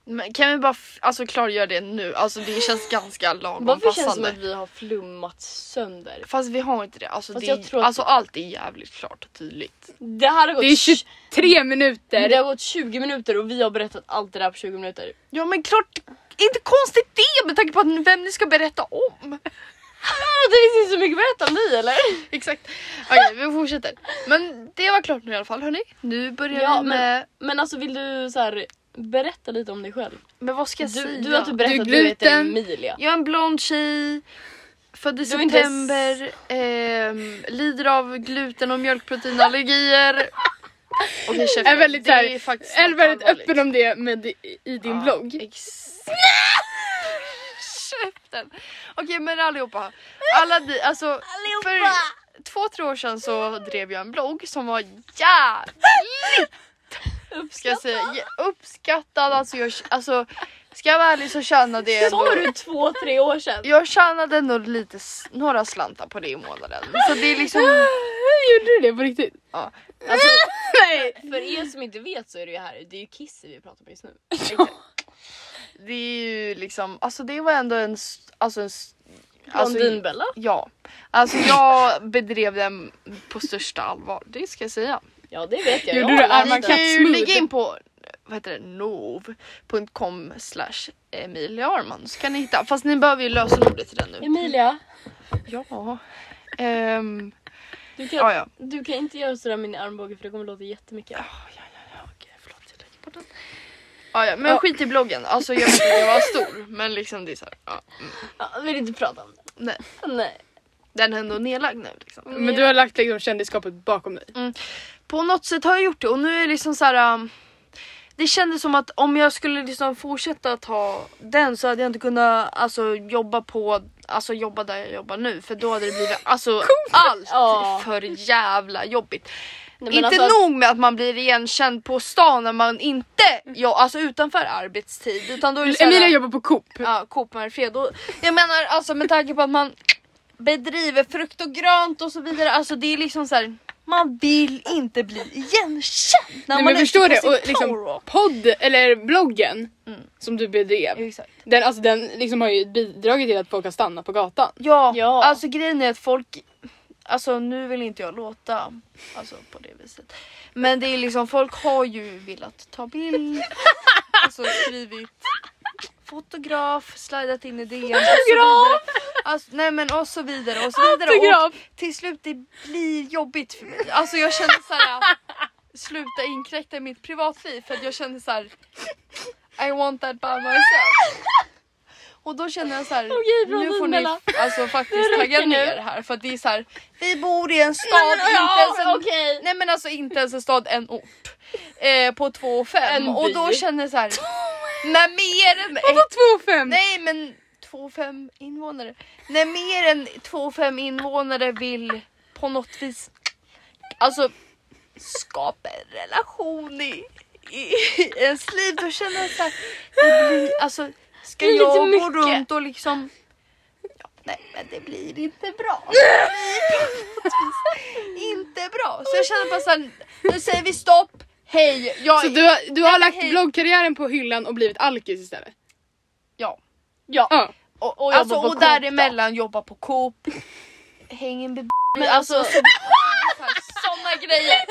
C: Men kan vi bara f- alltså, klargöra det nu? Alltså det känns ganska lagom
B: Varför känns det som
C: passande.
B: att vi har flummat sönder?
C: Fast vi har inte det. Alltså,
B: Fast
C: det
B: jag tror att-
C: alltså allt är jävligt klart och tydligt.
B: Det här har gått
A: Det är 23 minuter.
B: Det har gått 20 minuter och vi har berättat allt det där på 20 minuter.
C: Ja men klart, inte konstigt det med tanke på att vem ni ska berätta om.
B: Det finns inte så mycket att berätta om dig eller?
C: Exakt. Okej vi fortsätter. Men det var klart nu i alla fall hörni. Nu börjar
B: Ja,
C: vi med...
B: Men alltså vill du så här, berätta lite om dig själv?
C: Men, vad ska jag
B: Du,
C: säga?
B: du har inte berättat
A: Du är
B: att du heter
A: gluten.
B: Emilia.
C: Jag är en blond tjej. Född i
B: Du är inte ens-
C: september. ehm, lider av gluten och mjölkproteinallergier. Okej käften,
A: Är väldigt
C: det
A: så här-
C: är faktiskt
A: Eller
C: något
A: väldigt
C: allvarligt.
A: öppen om det med, i, i din
C: Ja,
A: blogg.
C: Ex- Käften! Okej men allihopa. Alla ni, alltså, För två, tre år sedan så drev jag en blogg som var jävligt ska jag säga, jä- uppskattad. Alltså, jag, alltså, ska jag vara ärlig så tjänade jag ändå,
B: Sa du två, tre år sedan?
C: jag tjänade ändå lite, s- några slantar på det i månaden. Så det är liksom,
A: Gjorde du det på riktigt?
C: ja.
B: Alltså,
A: Nej!
B: för er som inte vet så är det ju här, det är ju Kissy vi pratar om just nu.
C: Det är ju liksom, alltså det var ändå en, s- alltså en s- alltså,
B: Blondinbella.
C: Ja, alltså jag bedrev den på största allvar, det ska jag säga.
B: Ja det vet jag.
A: Gjorde
B: jag
A: du
B: har läst
A: arma
C: Ni kan ju
A: Katsmooth.
C: lägga in på vad heter det, nov.com slash Emilia Arman så kan ni hitta, fast ni behöver ju lösenordet till den
B: den.
C: nu.
B: Emilia,
C: Ja. Ehm,
B: du kan,
C: ja, ja.
B: du kan inte göra sådär med din armbåge för det kommer låta jättemycket.
C: Okej, förlåt, jag lägger på den. Ja, ja, men skit i bloggen. Alltså jag vet inte jag var stor. Men liksom det är så här, ja.
B: Ja, vill inte prata om det.
C: Nej.
B: Nej.
C: Den är ändå nedlagd nu liksom.
A: Men du har lagt liksom kändisskapet bakom dig.
C: På något sätt har jag gjort det och nu är det liksom så här. um, det kändes som att om jag skulle liksom fortsätta att ha den så hade jag inte kunnat alltså, jobba på Alltså jobba där jag jobbar nu för då hade det blivit alltså allt
B: Ja.
C: för jävla jobbigt.
B: Nej, men
C: inte
B: alltså,
C: nog med att man blir igenkänd på stan när man inte, ja, alltså utanför arbetstid utan då är det så här-
A: Emilia jobbar på Coop.
C: Ja, Coop Mariefred. Och Jag menar alltså med tanke på att man bedriver frukt och grönt och så vidare. Alltså det är liksom så här. Man vill inte bli igenkänd när
A: Nej,
C: man
A: men förstår
C: ute
A: det.
C: på
A: Och
C: sin
A: liksom,
C: torg.
A: podd, eller bloggen
C: Mm.
A: som du bedrev.
C: Exakt.
A: Den, alltså, den liksom har ju bidragit till att folk har stannat på gatan.
C: Ja,
B: Ja.
C: alltså grejen är att folk Alltså nu vill inte jag låta alltså, på det viset. Men det är liksom folk har ju velat ta bild. Alltså skrivit fotograf, slidat in i DM och så vidare. Alltså, nej men och så vidare och så vidare. Och till slut det blir jobbigt för mig. Alltså jag känner så här. sluta inkräkta i mitt privatliv för att jag känner så här. I want that by myself. Och då känner jag så här,
B: Okej, bra,
C: nu får ni
B: Mela.
C: alltså
B: Det
C: faktiskt
B: räcker
C: tagga
B: nu.
C: ner här för att det är så här, vi bor i en stad, inte ens en
B: Ja, okej.
C: Nej men alltså inte ens en stad, en ort. Eh, på 2 och
B: En
C: 5 och då
B: by.
C: känner jag så här. När mer än ett,
A: Två fem.
C: nej men 2 och 5 invånare. När mer än 2 och 5 invånare vill på något vis alltså skapa en relation i, i, i ens liv då känner jag så här, det blir, alltså ska
B: Det är lite
C: jag gå
B: mycket.
C: runt och liksom ja, Nej men det blir inte bra. Det blir på något vis inte bra. Så jag känner bara såhär, nu säger vi stopp, hej, jag
A: Så du, har- du har
C: men
A: lagt
C: hej.
A: bloggkarriären på hyllan och blivit alkis istället?
C: Ja.
A: Ja. ja.
B: Och, och
C: Alltså
B: jobbar på
C: och
B: Coop då.
C: däremellan jobba på Coop. Häng en be- men alltså, alltså sådana grejer.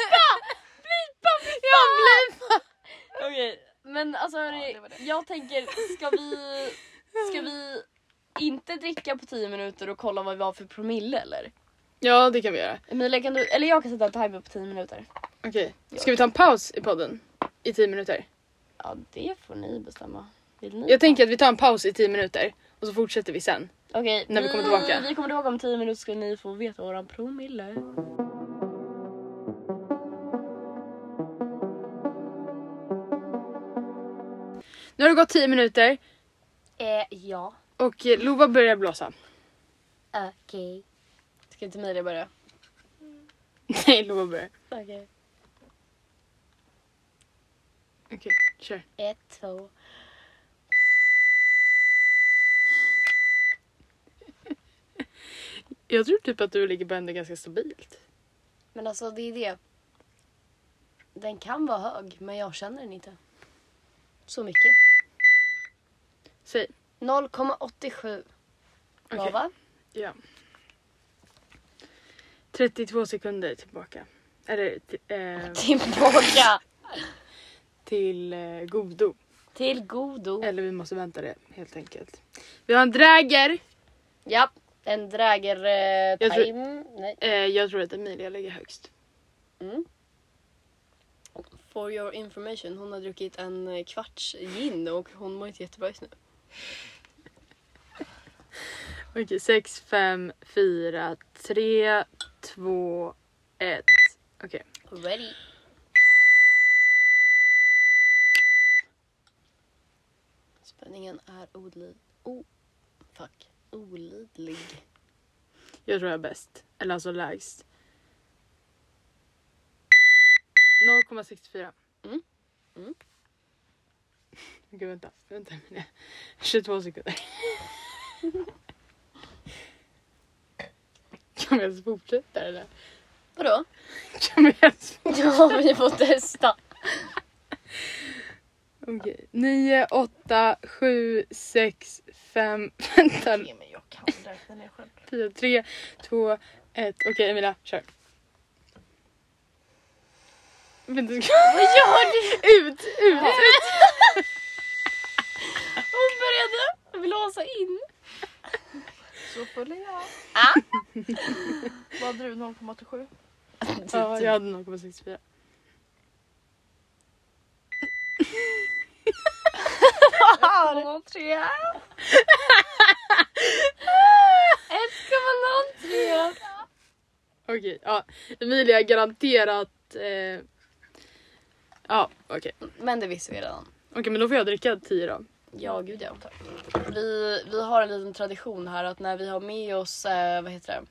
B: Okej, men alltså hörni,
C: det var det.
B: jag tänker ska vi, ska vi inte dricka på 10 minuter och kolla vad vi har för promille eller?
A: Ja, det kan vi göra.
B: Emilia kan du, eller jag kan sätta en timer på 10 minuter.
A: Okej. Ska vi ta en paus i podden? I tio minuter?
B: Ja det får ni bestämma. Vill ni?
A: Jag tänker att vi tar en paus i tio minuter och så fortsätter vi sen.
B: Okej,
A: när vi kommer tillbaka.
B: Vi kommer tillbaka om 10 minuter ska ni få veta våran promille.
A: Nu har det gått tio minuter
B: Eh, ja.
A: och eh, Lova börjar blåsa.
B: Okej. Ska inte Emilia börja?
A: Nej, Lova börjar.
B: Okej.
A: Okej, kör.
B: Ett, två.
A: Jag tror typ att du ligger på ändå ganska stabilt.
B: Men alltså det är det. Den kan vara hög men jag känner den inte. Så mycket.
A: Säg.
B: 0,87.
A: Okej.
B: Lava.
A: Ja. 32 sekunder tillbaka. Eller t- eh,
B: Tillbaka
A: till eh, godo.
B: till godo.
A: Eller vi måste vänta det helt enkelt. Vi har en dräger.
B: Ja, en dräger eh,
A: Jag tror-
B: time. Nej.
A: Eh, jag tror att Emilia ligger högst.
B: For your information, hon har druckit en eh, kvarts gin och hon mår inte jättebra just nu.
A: Okej, 6, 5, 4, 3, 2, 1. Okej.
B: Ready? Spänningen är olid... Oh, fuck. Olidlig.
A: Jag tror jag är bäst. Eller alltså lägst. 0,64.
B: Mm. Mm.
A: Gud, vänta. Vänta Emilia. 22 sekunder. Kan vi ens fortsätta eller?
B: Vadå?
A: Kan vi ens
B: Ja, vi får testa.
A: Okej. 9, 8, 7, 6, 5, vänta,
C: Nej men jag kan räkna ner själv.
A: 10, 3, 2, 1. Okej Emilia, kör. Vänta, ska... Vad gör du? Ut, ut, ut.
B: Hon började blåsa in.
C: Så full är jag. Vad hade du? 0,87?
A: Ja, jag hade 0,64.
C: här!
B: två, tre. 1,03.
A: Okej, ja. Emilia är garanterat... Eh... Ja, okej.
B: Men det visste vi redan.
A: Okej, men då får jag dricka tio då.
B: Ja, gud ja. Vi, vi har en liten tradition här att när vi har med oss eh, vad heter det?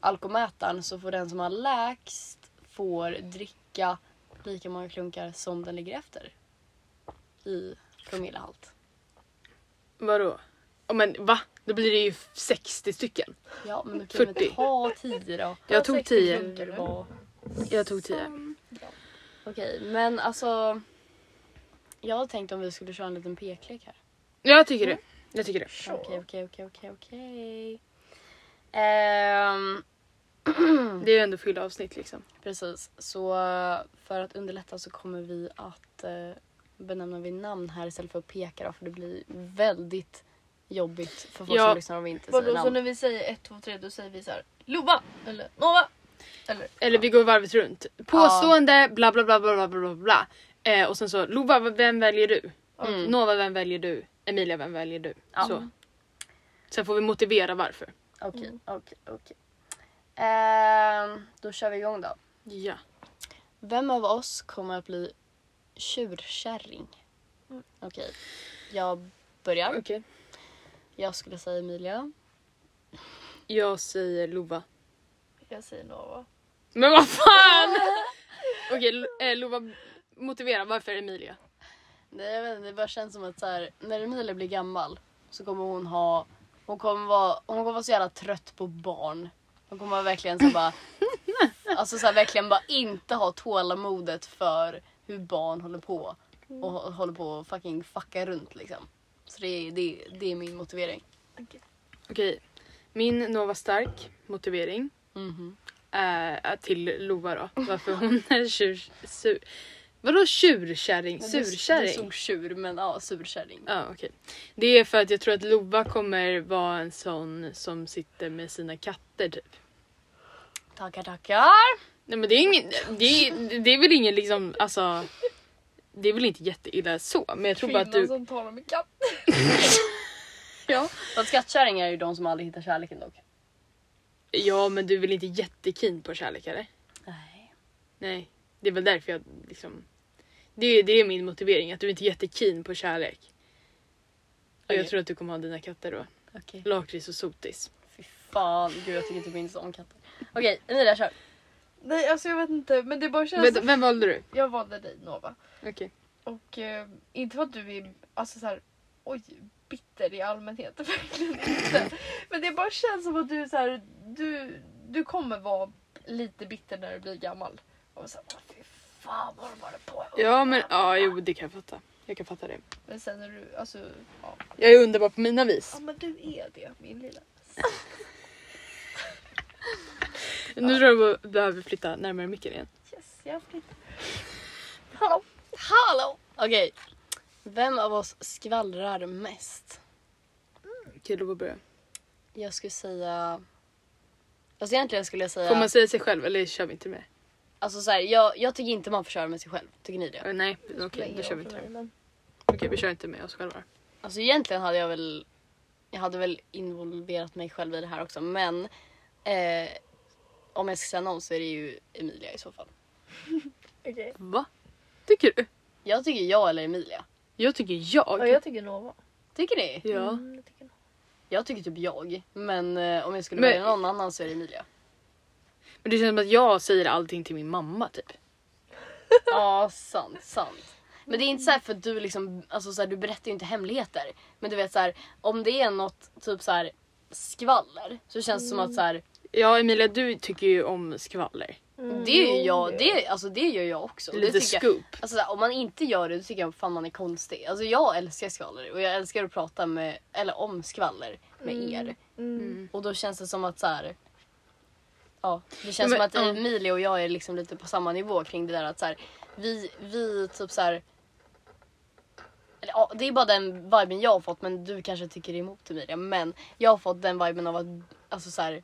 B: alkomätaren så får den som har lägst får dricka lika många klunkar som den ligger efter i promillehalt.
A: Vadå? Ja, men va? Då blir det ju 60 stycken.
B: Ja, men du kan väl
A: 40.
B: inte ha tio då?
A: Jag tog
C: 60
A: tio.
C: klunkar nu.
B: Vad-
A: Jag tog
B: Mm.
A: tio.
B: Okej, men alltså. Jag hade tänkt om vi skulle köra en liten peklek här.
A: Jag tycker
B: Mm.
A: det. Jag tycker det.
B: Okej, okej, okej, okej, okej. Ehm,
A: Det är ju ändå fylla avsnitt liksom.
B: Precis, så eh, för att underlätta så kommer vi att eh, benämna vid namn här istället för att peka då, för det blir väldigt jobbigt för folk
A: Ja.
B: som lyssnar om vi inte
C: Vadå
B: säger
C: så
B: namn.
C: när vi säger 1, 2, 3 då säger vi så här Lova eller Nova. Eller
A: Eller vi går varvet runt. Påstående, bla bla bla bla bla bla bla. Eh, och sen så Lova, vem väljer du?
B: Mm.
A: Nova, vem väljer du? Emilia, vem väljer du?
B: Ja.
A: Så. Sen får vi motivera varför.
C: Mm.
B: Okej, okej, okej. Ehm, Då kör vi igång då.
A: Ja.
B: Vem av oss kommer att bli tjurkärring?
C: Mm.
B: Okej, jag
A: Okej.
B: börjar. Jag skulle säga Emilia.
A: Jag säger Lova.
C: jag säger Nova.
A: Men vad fan! Okej, eh, Lova, motivera varför Emilia?
B: Nej, jag vet inte, det bara känns som att så här, när Emilia blir gammal så kommer hon ha... Hon kommer vara, hon kommer vara så jävla trött på barn. Hon kommer vara verkligen så här bara... alltså så här, verkligen bara inte ha tålamodet för hur barn håller på. Och hå- håller på och fucking fucka runt liksom. Så det är, det, är- det är min motivering.
A: Okej. Min Nova Stark motivering Mm-hmm.
B: Mhm.
A: eh, till Lova då. Varför hon är tjur... Sur, vadå tjurkärring?
B: Du, du
A: Surkärring?
B: såg tjur, men ja, surkärring.
A: Ja, okej. Det är för att jag tror att Lova kommer vara en sån som sitter med sina katter typ.
B: Tackar, tackar.
A: Nej men det är ingen, det är, det är väl ingen liksom, alltså. Det är väl inte jätteilla så, men jag tror bara
C: Kvinnan
A: att du...
C: som talar med katt.
A: Ja.
B: Fast skattkärringar är ju de som aldrig hittar kärleken dock.
A: ja, men du är väl inte jättekeen på kärlek eller?
B: Nej.
A: Nej, det är väl därför jag liksom... Det är, det är min motivering, att du inte är jättekeen på kärlek. Och jag
B: Okej.
A: tror att du kommer ha dina katter då.
B: Okej.
A: Lakrits och sotis.
B: Fy fan, gud jag tycker typ inte om katter. Okej, Emilia kör.
C: Nej alltså jag vet inte men det bara känns...
A: Vänta, vem valde du?
C: Jag valde dig Nova.
A: Okej.
C: Och eh, inte för att du är alltså så här, oj, bitter i allmänhet. Verkligen inte. Men det bara känns som att du, är så här, du, du kommer vara lite bitter när du blir gammal. Och så här, "Åh, fy fan vad de håller på.
A: Ja men ja, jo det kan jag fatta. Jag kan fatta det.
C: Men sen när du, alltså, ja.
A: Jag är underbar på mina
C: ja
A: vis.
C: men du är det min lilla.
A: Nu tror jag att vi behöver flytta närmare micken igen.
C: Yes, jag flyttar. Hallå.
B: Hallå! Okej. Vem av oss skvallrar mest?
A: Okej, då börjar
B: Jag skulle säga... Alltså egentligen skulle jag säga...
A: Får man säga sig själv eller kör vi inte med?
B: Alltså så här, jag, jag tycker inte man får köra med sig själv. Tycker ni det?
A: Eh, Nej, okej då kör vi inte det. Okej vi kör inte med oss själva.
B: Alltså egentligen hade jag väl... Jag hade väl involverat mig själv i det här också men... Eh, om jag ska säga någon så är det ju Emilia i så fall.
C: Okej.
A: Va? Tycker du?
B: Jag tycker jag eller Emilia.
A: Jag tycker jag.
C: Ja, jag tycker Nova.
B: Tycker ni?
A: Ja.
C: Mm, jag tycker Nova.
B: Jag tycker typ jag. Men eh, om jag skulle
A: Men-
B: välja någon annan så är det Emilia.
A: Men det känns som att jag säger allting till min mamma typ.
B: Ja, sant, sant. Men det är inte så här för att du liksom, alltså så här, du berättar ju inte hemligheter. Men du vet så här, om det är något typ så här skvaller så känns det som att så här,
A: Ja Emilia du tycker ju om skvaller.
B: det är ju jag, det, är- alltså det gör jag också. Och
A: Lite
B: det tycker jag,
A: scoop.
B: alltså så här, om man inte gör det då tycker jag fan man är konstig. Alltså jag älskar skvaller och jag älskar att prata med, eller om skvaller med er.
A: Mm.
B: Och då känns det som att så här. Ja, det känns
A: Men-
B: som att
A: ja.
B: Emilie och jag är liksom lite på samma nivå kring det där att så här, vi, vi typ så här. Eller, ja, det är bara den viben jag har fått men du kanske tycker emot Emilia. Men jag har fått den viben av att alltså så här,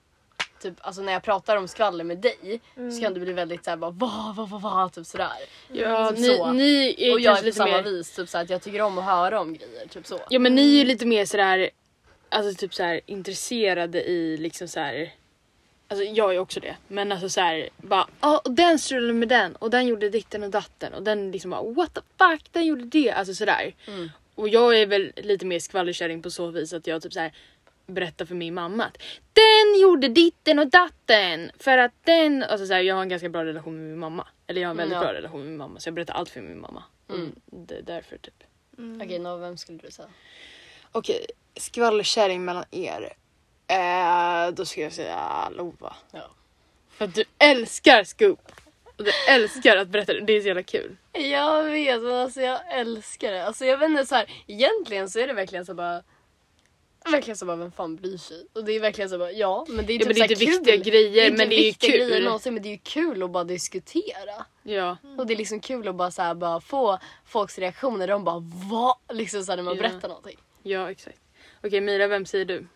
B: typ, alltså när jag pratar om skvaller med dig
A: Mm.
B: så kan du bli väldigt såhär bara va, va, va, va, typ sådär.
A: Ja,
B: Typ
A: ni,
B: så.
A: ni är
B: och jag
A: kanske
B: är på
A: lite
B: samma
A: mer...
B: vis, typ såhär, att jag tycker om att höra om grejer. Typ så.
A: Ja men ni är ju lite mer sådär, alltså typ såhär intresserade i liksom såhär Alltså jag är också det, men alltså såhär bara ja och den strulade med den och den gjorde ditten och datten och den liksom bara what the fuck den gjorde det, alltså sådär.
B: Mm.
A: Och jag är väl lite mer skvallerkärring på så vis att jag typ såhär berättar för min mamma att den gjorde ditten och datten för att den, alltså såhär jag har en ganska bra relation med min mamma. Eller jag har en
B: Mm,
A: väldigt
B: ja.
A: bra relation med min mamma så jag berättar allt för min mamma.
B: Mm.
A: Och det är därför typ.
B: Okej, nå, vem skulle du säga?
A: Okej, skvallerkärring mellan er. Eh, då ska jag säga Lova.
B: Ja.
A: För att du älskar Scoop. Och du älskar att berätta det. Det är så jävla kul.
B: Jag vet, men alltså jag älskar det. Alltså jag vet inte, så här, egentligen så är det verkligen så bara... Verkligen så bara, vem fan bryr sig? Och det är verkligen så bara, ja men det är
A: Ja,
B: typ
A: men det är
B: så här
A: inte
B: kul.
A: viktiga
B: Det är
A: grejer
B: inte
A: men det är ju
B: viktiga grejer
A: kul.
B: någonsin, men det är ju kul att bara diskutera.
A: Ja.
B: Och det är liksom kul att bara, så här, bara få folks reaktioner. De bara va? Liksom så här, när man
A: Ja.
B: berättar någonting.
A: ja, exakt. Okej Mira, vem säger du?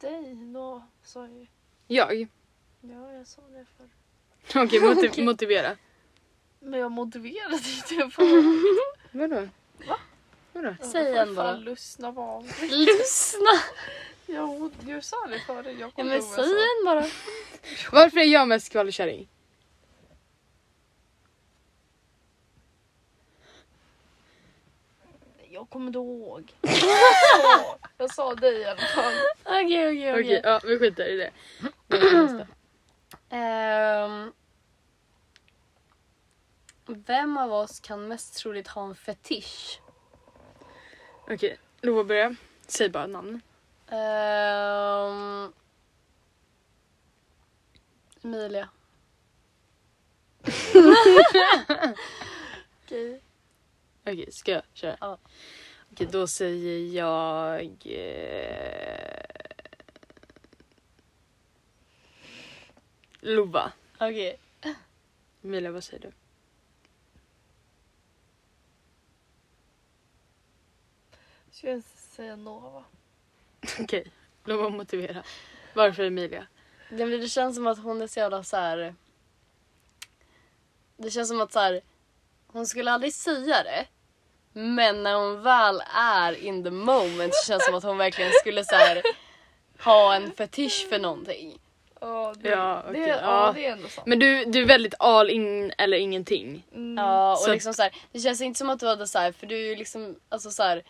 C: Dig, nå, sa jag ju.
A: Jag?
C: Ja, jag sa det för.
A: Okej, motiv- motivera.
C: Men jag motiverade inte för
A: Vadå? Va? Vadå?
B: Säg en bara.
C: lyssna vad.
B: Lyssna!
C: Jag, jag sa det förut. Jag
B: Ja,
C: kommer
B: men
C: ihåg vad
B: säg
C: jag sa.
B: en bara.
A: Varför är jag mest skvallerkärring?
C: Jag kommer inte ihåg. jag sa dig i alla fall.
B: Okej, okej,
A: Okej,
B: okej.
A: ja vi skiter i det. Då är det nästa.
B: Ehm, Vem av oss kan mest troligt ha en fetisch?
A: Okej, Lova börja. Säg bara namn.
B: Ehm, Emilia.
C: Okej.
A: Okej, ska jag köra?
B: Ja.
A: Okej, då säger jag... Eh... Lova.
B: Okej.
A: Emilia, vad säger du?
C: Ska jag säga Nova?
A: Okej, Lova motivera. Varför Emilia?
B: Det, men det känns som att hon är så jävla så här. Det känns som att så här. Hon skulle aldrig säga det. Men när hon väl är in the moment så känns det som att hon verkligen skulle så här, ha en fetisch för någonting.
C: Ja, det,
A: Ja,
C: det,
A: okej,
C: ja.
A: ja.
C: det är ändå sant.
A: Men du, du är väldigt all in eller ingenting.
C: Mm.
B: Ja, och
A: Så-
B: liksom så här, det känns inte som att du hade så här, för du är ju liksom, alltså så här,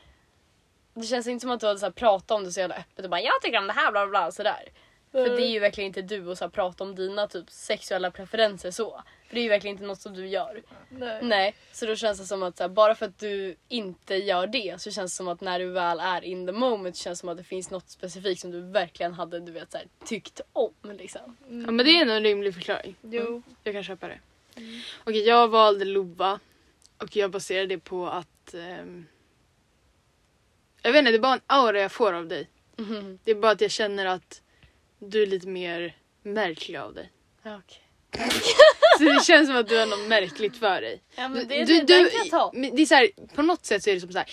B: det känns inte som att du hade så här, pratat om det så jävla öppet och bara jag tycker om det här bla bla, bla sådär. För det är ju verkligen inte du och så här, prata om dina typ sexuella preferenser så. För det är ju verkligen inte något som du gör.
C: Nej.
B: Nej, så då känns det som att så här, bara för att du inte gör det så känns det som att när du väl är in the moment så känns det som att det finns något specifikt som du verkligen hade du vet, så här, tyckt om. Liksom.
A: Ja, men det är nog en rimlig förklaring.
C: Jo.
A: Jag kan köpa det. Mm. Okej, jag valde Lova. Och jag baserade det på att... ehm, Jag vet inte, det är bara en aura jag får av dig.
B: Mhm.
A: Det är bara att jag känner att du är lite mer märklig av dig.
B: Okej.
A: Så det känns som att du har något märkligt för dig.
B: Ja, men det,
A: Du-
B: det,
A: du-
B: den
A: du-
B: kan jag ta.
A: men det är så här, på något sätt så är det som så här,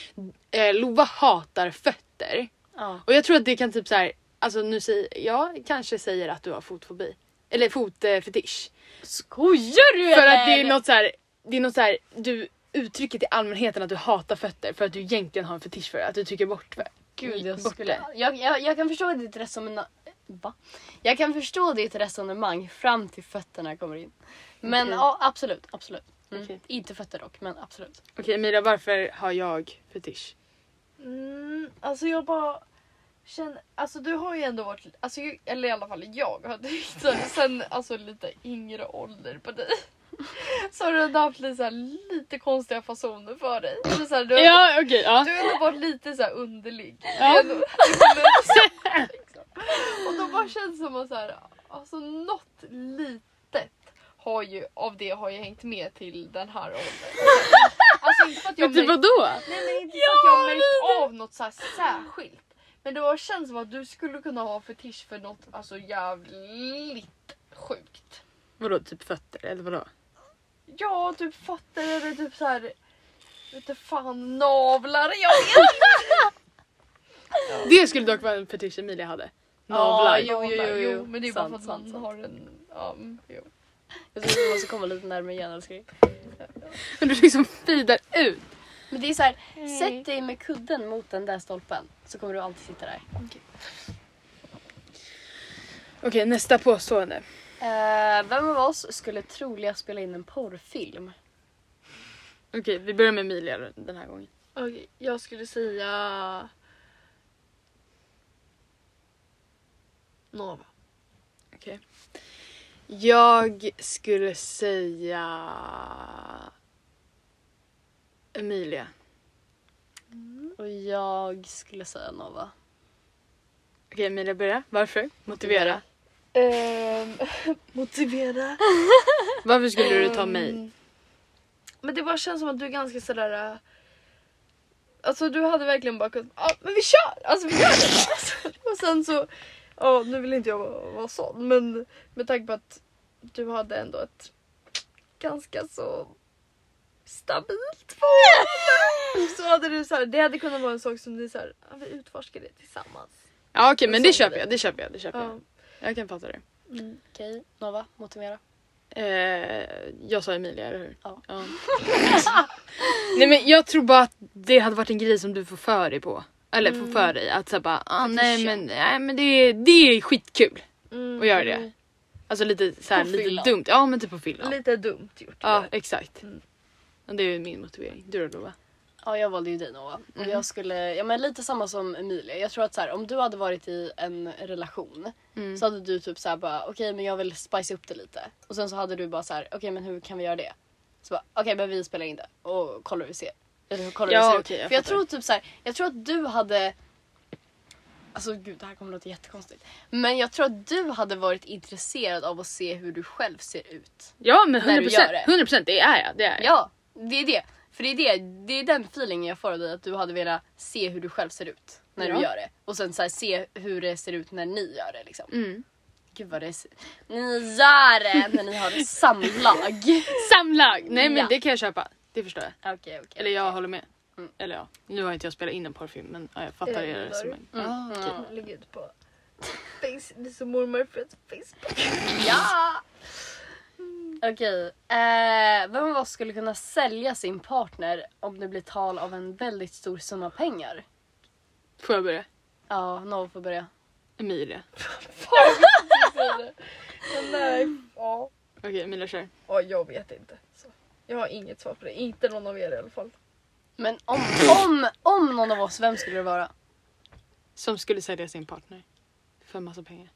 A: eh, Lova hatar fötter.
B: Ja.
A: Och jag tror att det kan typ så här, alltså nu säger, jag kanske säger att du har fotfobi. Eller fotfetisch.
B: Skojar du
A: För att det är något så här, det är något så här, du uttrycker till allmänheten att du hatar fötter för att du egentligen har en fetisch för det, att du tycker bort för
B: Gud, jag,
A: bort
B: skulle,
A: det.
B: jag, jag, jag kan förstå ditt resonemang. Va? Jag kan förstå ditt resonemang fram till fötterna kommer in. Men
A: Okej.
B: ja, absolut. absolut. Mm.
A: Okej.
B: Inte fötter dock, men absolut.
A: Okej Mira, varför har jag fetisch?
C: Mm, alltså jag bara känner, alltså du har ju ändå varit, alltså, ju- eller i alla fall jag har tyckt så här, sen alltså lite yngre ålder på dig. Så har du ändå haft lite, så här, lite konstiga fasoner för dig. Så så här, du, har-
A: Ja okej, ja.
C: du har ändå varit lite så här underlig.
A: Ja.
C: Det är ändå- det är ändå- liksom. Och då bara känns det som att så här, alltså något litet har ju, av det har jag hängt med till den här åldern. Alltså inte för att jag
A: Men typ
C: märker-
A: vadå?
C: Nej men inte så att jag har märkt av något så här särskilt. Men det har känts som att du skulle kunna ha fetisch för något alltså jävligt sjukt.
A: Vadå typ fötter eller vadå?
C: Ja, typ fötter eller typ så här. Vet fan navlar jag vet.
A: Det skulle dock vara en fetisch Emilia hade. Navlar.
C: Ja, jo, jo, jo, jo. Men det är ju bara
B: Sant,
C: för att
B: sant,
C: man
B: sant.
C: har en... Ja, mm, jo.
B: Jag tror du måste komma lite närmare igen älskling.
A: Och du liksom feedar ut.
B: Men det är så här, sätt dig med kudden mot den där stolpen så kommer du alltid sitta där.
A: Okej, nästa påstående.
B: Eh, vem av oss skulle troligen spela in en porrfilm?
A: Okej, vi börjar med Emilia den här gången.
C: Okej, jag skulle säga... Nova.
A: Okej. Jag skulle säga... Emilia.
B: Och jag skulle säga Nova.
A: Okej, Emilia börja. Varför? Motivera.
C: motivera.
A: Varför skulle du ta mig?
C: Mm. Men det bara känns som att du är ganska sådär... äh, Alltså du hade verkligen bara kunnat... Ja, men vi kör! Alltså vi gör det bara. alltså, Och sen så... Ja, nu vill inte jag vara, vara sån men med tanke på att du hade ändå ett ganska så stabilt förhållande. Så hade du så här, det hade kunnat vara en sak som ni så här, ja, vi utforskar det tillsammans.
A: Ja, okej, men det
C: Så-
A: köper jag. Det köper jag. Det köper
C: Ja.
A: jag. jag kan fatta det.
B: Okej, Nova, motivera.
A: Eh, jag sa Emilia, eller hur?
B: Ja.
A: nej men jag tror bara att det hade varit en grej som du får för dig på. Eller
B: Mm.
A: får för dig. Att såhär bara, ah, nej men, nej, men det, det är skitkul
C: Mm,
A: att göra det. Alltså lite såhär,
B: På
A: lite
B: fyllan.
A: dumt. Ja men typ på fyllan.
C: Lite dumt gjort.
A: Ja exakt.
C: Mm.
A: Och det är ju min motivering. Du då Lova?
B: Ja, jag valde ju dig Nova. Och
A: Mm.
B: jag skulle, ja men lite samma som Emilia. Jag tror att så här, om du hade varit i en relation
A: Mm.
B: så hade du typ så här bara okej men jag vill spice upp det lite. Och sen så hade du bara så här okej men hur kan vi göra det? Så bara okej men vi spelar in det och kollar hur vi ser. Eller kollar hur
A: Ja,
B: vi ser
A: okej,
B: ut.
A: jag
B: För jag
A: fattar.
B: tror typ så här, jag tror att du hade Alltså gud det här kommer låta jättekonstigt. Men jag tror att du hade varit intresserad av att se hur du själv ser ut.
A: Ja men 100%,
B: När du gör det.
A: 100% det är jag. Det är jag.
B: Ja, det är det. För det är, det, det är den feelingen jag får av dig, att du hade velat se hur du själv ser ut när
A: Ja.
B: du gör det. Och sen så här, se hur det ser ut när ni gör det. Liksom.
A: Mm.
B: Gud vad det ser... Ni gör det när ni har ett samlag.
A: Samlag! Nej men
B: Ja.
A: det kan jag köpa. Det förstår jag.
B: Okej, okej. Okay.
A: Eller jag håller med.
B: Mm.
A: Eller ja, nu har inte jag spelat in en porrfilm men ja, jag fattar
C: Eh,
A: er
C: vad sa du?
A: resonemang.
B: Mm.
C: Lägg ut typ på face, det är som mormor på Facebook.
B: Ja! Okej, eh, vem av oss skulle kunna sälja sin partner om det blir tal av en väldigt stor summa pengar?
A: Får jag börja?
B: Ja, Nova får börja.
A: Emilia.
C: Men nej, ja.
A: Okej Emilia kör.
C: ja, jag vet inte. Så. Jag har inget svar på det, inte någon av er i alla fall.
B: Men om, om, om någon av oss, vem skulle det vara?
A: Som skulle sälja sin partner. För massa pengar.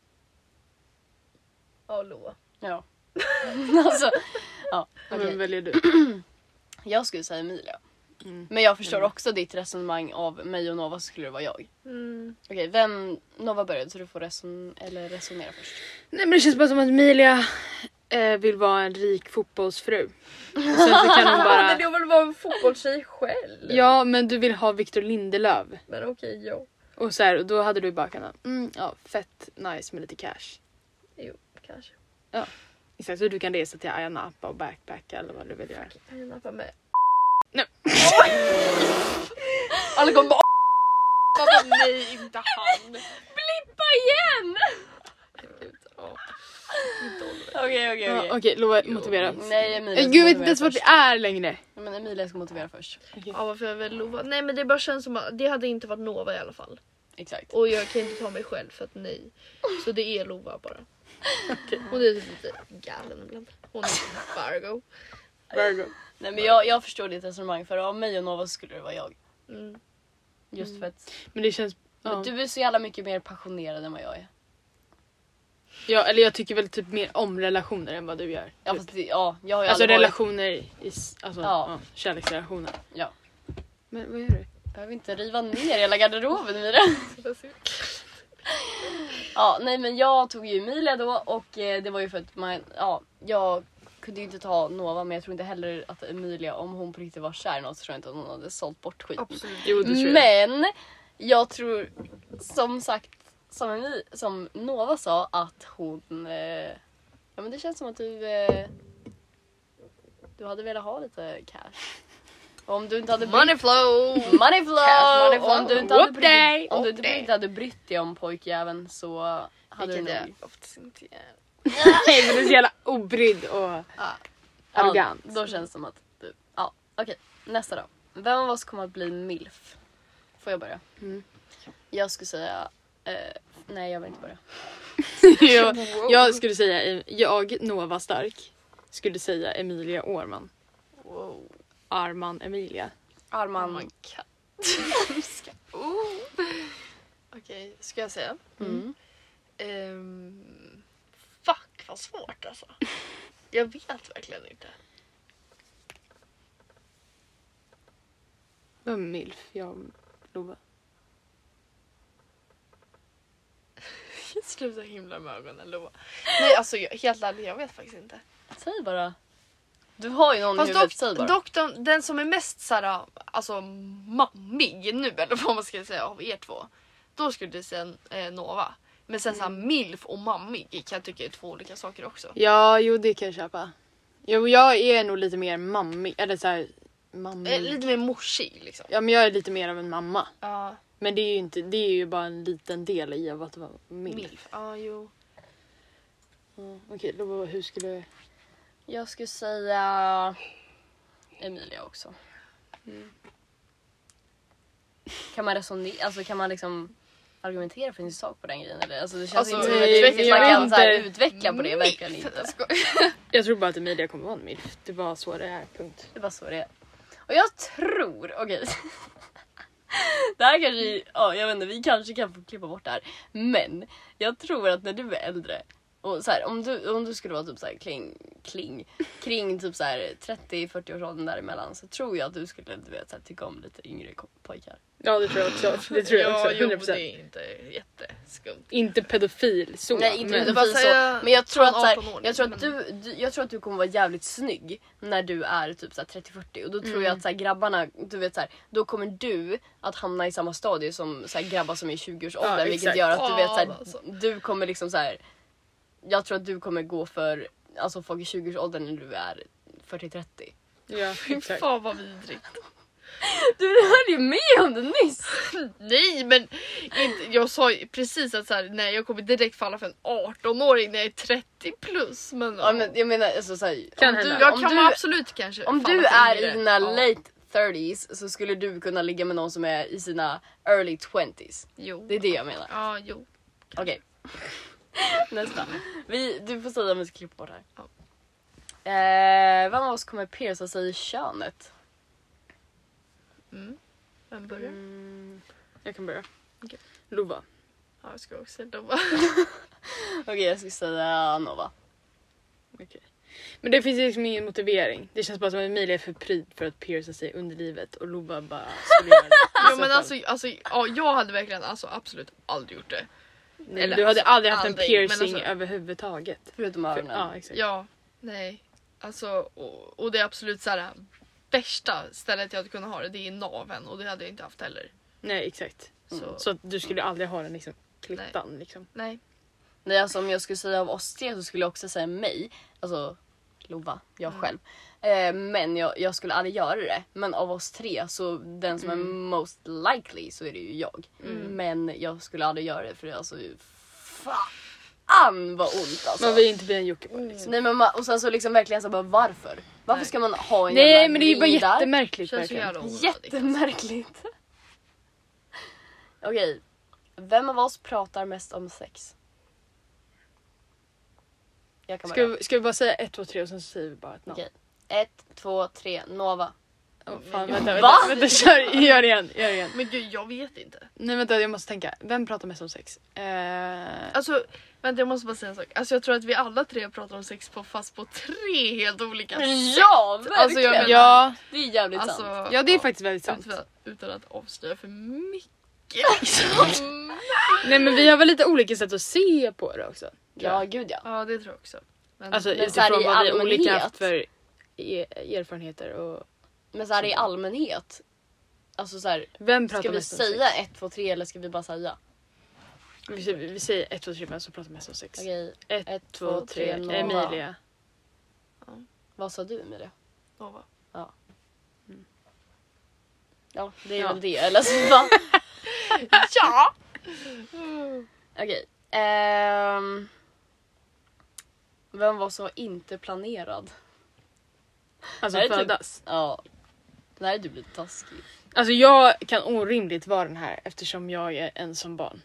C: Ja, Loa.
B: Ja. alltså, ja.
A: Okay.
B: okej.
A: Vem väljer du?
B: Jag skulle säga Emilia.
A: Mm.
B: Men jag förstår också ditt resonemang av mig och Nova så skulle det vara jag.
C: Mm.
B: Okej, vem... Nova började så du får reson- eller resonera först.
A: Nej men det känns bara som att Emilia eh, vill vara en rik fotbollsfru. Och Sen så kan hon
C: Hade
A: bara...
C: jag väl vara en fotbollstjej själv?
A: Ja men du vill ha Victor Lindelöf.
C: Men okej, ja.
A: Och, så här, och då hade du bara kunnat, mm, ja fett nice med lite cash.
C: Jo, kanske.
A: Exakt, så du kan resa till Ayia Napa och backpacka eller vad du vill göra.
C: Jag kan nappa med.
B: Alla kommer bara
C: Pappa, nej, inte han.
B: "Åppa igen!
C: Ja.
B: Okej, okej,
A: Ja, Okej,
B: okej.
A: Lova motivera.
B: Nej, Emilia
A: Eh,
B: ska
A: Gud jag vet
B: motivera
A: inte ens vart vi
B: först.
A: är längre.
B: Nej, Men Emilia ska motivera först.
C: ja, varför jag väl Loa? Nej, men det bara känns som att det hade inte varit Nova i alla fall.
B: Exakt.
C: Och jag kan inte ta mig själv för att nej. Så det är Lova bara. Hon är typ lite galen ibland. Hon är typ Fargo.
A: Virgo.
B: Nej men jag, jag förstår ditt resonemang för av mig och Nova så skulle det vara jag.
C: Mm.
B: Just för att
A: Men det känns... Ja.
B: du är så jävla mycket mer passionerad än vad jag är.
A: Ja, eller jag tycker väl typ mer om relationer än vad du gör.
B: Ja,
A: typ.
B: fast det, ja jag har ju
A: alltså
B: aldrig varit-
A: relationer i s- alltså,
B: Ja.
A: ja. kärleksrelationer.
B: Ja.
A: Men vad gör du?
B: Behöver inte riva ner hela garderoben Mira. Ja, nej men jag tog ju Emilia då och eh, det var ju för att man, ja, jag kunde ju inte ta Nova men jag tror inte heller att Emilia, om hon på riktigt var kär i något så tror jag inte att hon hade sålt bort skiten.
C: Absolut.
A: Jo, det tror jag.
B: Men jag tror som sagt, som, Emi, som Nova sa att hon, eh, ja men det känns som att du, eh, du hade velat ha lite cash. Om du inte hade brytt
A: Money flow!
B: Money flow!
A: Cash money flow.
B: Om du inte hade
A: Whoop
B: brytt,
A: day.
B: om
A: Whoop
B: du inte
A: day.
B: inte hade brytt dig om pojkjäveln så hade
A: Vilket
B: du
A: jag
B: nog...
A: oftast inte gör. Nej men du är så jävla obrydd och
C: Ja.
A: arrogant.
B: Ja, då känns det som att du... Ja, okej. Nästa då. Vem av oss kommer att bli milf? Får jag börja?
A: Mm.
B: Jag skulle säga... Eh, nej, jag vill inte börja.
A: jag, jag skulle säga, jag Nova Stark skulle säga Emilia Årman.
C: Wow.
A: Arman Emilia.
B: Arman.
C: Oh my god. Okej, ska jag säga?
B: mm.
C: Ehm, fuck vad svårt alltså. Jag vet verkligen inte.
A: Vem är milf? Jag och Lova.
C: Sluta himla med ögonen Lova. Nej alltså jag, helt ärligt jag vet faktiskt inte.
B: Säg bara. Du har ju någon i
C: Fast
B: huvudet, säg bara.
C: dock, dock den, den som är mest såhär alltså mammig nu eller vad man ska säga av er två. Då skulle jag säga eh, Nova. Men sen såhär
A: Mm.
C: milf och mammig kan jag tycka är två olika saker också.
A: Ja, jo det kan jag köpa. Jo, jag är nog lite mer mammig, eller såhär
C: Eh,
A: mammig.
C: lite mer morsig liksom.
A: Ja men jag är lite mer av en mamma.
C: Ja,
A: Men det är ju, inte, det är ju bara en liten del i av att vara milf.
C: milf. Ja, jo.
A: Ja, Okej, Lova hur skulle...
B: Jag skulle säga Emilia också.
A: Mm.
B: Kan man resonera, alltså kan man liksom argumentera för sin sak på den grejen eller? Alltså det känns
C: Alltså,
B: inte som att
A: jag vet
B: man kan så här,
A: inte.
B: utveckla på det, verkligen
C: Milf,
B: inte.
C: jag skojar.
A: Jag tror bara att Emilia kommer vara en milf. Det var så det är, punkt.
B: Det är bara så det är. Och jag tror, okej. det här kanske, ja jag vet inte, vi kanske kan få klippa bort det här. Men jag tror att när du är äldre och så här, om, du, om du skulle vara typ så här kling, kling, kring typ så här 30-40 års åldern däremellan så tror jag att du skulle du vet, så här, tycka om lite yngre ko- pojkar.
A: Ja det tror jag också. Det tror jag också.
C: Ja,
A: 100%.
C: jo, det är inte jätteskumt.
A: Inte pedofil så.
B: Nej inte
A: men...
B: men,
C: bara
B: så,
C: säga
B: men jag tror,
C: från
B: att, så här,
C: 18 år,
B: jag, tror att
C: men-
B: du, du, jag tror att du kommer vara jävligt snygg när du är typ så här 30-40 och då tror
C: Mm.
B: jag att så här, grabbarna, du vet så här, då kommer du att hamna i samma stadie som så här, grabbar som är i 20-årsåldern
A: Ja,
B: vilket
A: exakt.
B: gör att du vet så här,
C: Ja, alltså.
B: du kommer liksom så här. jag tror att du kommer gå för alltså, folk i 20-årsåldern när du är 40-30.
A: Ja,
C: Fy
A: exakt.
C: fan vad vidrigt.
B: Du höll ju med om det nyss!
C: Nej men inte, jag sa ju precis att så här, nej, jag kommer direkt falla för en 18-åring när jag är 30 plus. Men,
B: Ja, men, jag menar alltså, så här,
A: Kan
B: om du,
A: hända.
C: jag
B: om
C: kan
B: du,
C: absolut kanske
B: Om
C: falla
B: du
C: för
B: är
C: yngre.
B: i dina
C: Ja.
B: late 30s så skulle du kunna ligga med någon som är i sina early 20s.
C: Jo.
B: Det är det jag menar.
C: Ja, jo.
B: Okej. Nästa. Vi, du får säga om vi ska klippa bort det här.
C: Ja.
B: Eh, vem av oss kommer pierca sig i könet?
C: Mm. Vem börjar? Mm,
A: Jag kan börja.
C: Okej.
A: Lova.
C: Ja, jag ska också döma.
B: Okej jag skulle säga Nova.
A: Okej. Men det finns liksom ingen motivering. Det känns bara som att Emilia är för pryd för att pierca sig under livet och Lova bara skulle göra det. i
C: ja,
A: så
C: men
A: fall.
C: alltså, alltså, ja, jag hade verkligen alltså, absolut aldrig gjort det.
A: Nej,
C: eller
A: du hade
C: alltså,
A: aldrig haft
C: aldrig,
A: en
C: men
A: piercing
C: alltså-
A: överhuvudtaget.
B: Förutom
A: För,
B: öronen.
A: ja, exakt.
C: Ja, nej. Alltså, och, och det är absolut så här äh, värsta stället jag hade kunnat ha det, det är naven och det hade jag inte haft heller.
A: Nej, exakt.
C: Så,
A: Så att du skulle aldrig ha den liksom, klittan. Liksom.
C: nej.
B: Nej alltså om jag skulle säga av oss tre så skulle jag också säga mig. Alltså Lova, jag
A: Mm.
B: själv. Eh, men jag, jag skulle aldrig göra det. Men av oss tre så den som
A: Mm.
B: är most likely så är det ju jag. Men jag skulle aldrig göra det för det är alltså fan vad ont alltså.
A: Man vill ju inte bli en jockiboi. Liksom.
B: Nej, men man, och sen så liksom verkligen så bara varför? Varför
C: Nej.
B: ska man ha
C: Mm.
B: en
A: Nej
B: jävla
A: men det är ju bara
B: ring där?
C: Det
A: jättemärkligt.
C: känns så
A: verkligen.
C: jävla onödigt.
B: Jättemärkligt. Okej, vem av oss pratar mest om sex? Jag kan
A: Ska
B: börja.
A: vi, ska vi bara säga ett, två, tre och sen så säger vi bara ett namn?
B: Okej. Ett, två, tre, Nova.
A: Åh, fan, vänta,
B: Va?
A: vänta, vänta kör, gör det igen, gör det igen.
C: Men gud, jag vet inte.
A: Nej vänta jag måste tänka, vem pratar mest om sex? Eh,
C: Alltså, vänta jag måste bara säga en sak. Alltså jag tror att vi alla tre pratar om sex på fast på tre helt olika
B: Ja, verkligen!
C: Alltså, jag menar-
A: ja,
B: Det är jävligt
C: Alltså,
B: sant.
A: ja det är faktiskt väldigt sant.
C: utan, utan att avslöja för mycket. Mm.
A: Nej men vi har väl lite olika sätt att se på det också. tror
B: Ja,
A: jag.
B: gud ja.
C: ja, det tror jag också. Men,
A: Alltså
B: Men så här
A: utifrån
B: i
A: vad vi olika
B: allmänhet-
A: haft för e- erfarenheter och
B: Men så här i allmänhet. Alltså så här,
A: vem pratar
B: ska vi
A: mest
B: säga
A: om sex?
B: ett, två, tre eller ska vi bara säga?
A: Vi, säger- vi säger ett, två, tre, vem som pratar mest om sex?
B: Okej,
A: Ett,
B: ett,
A: två, tre,
B: Nova.
A: Emilia.
B: Vad sa du Emilia?
C: Nova.
B: Ja. Ja, det är
A: Ja.
B: väl det. Eller så bara,
C: Ja!
A: Mm.
B: Okej. ehm, vem var så inte planerad?
A: Alltså
B: Nej, typ.
A: födas.
B: Ja. Den här är typ lite taskig.
A: Alltså jag kan orimligt vara den här eftersom jag är ensam barn.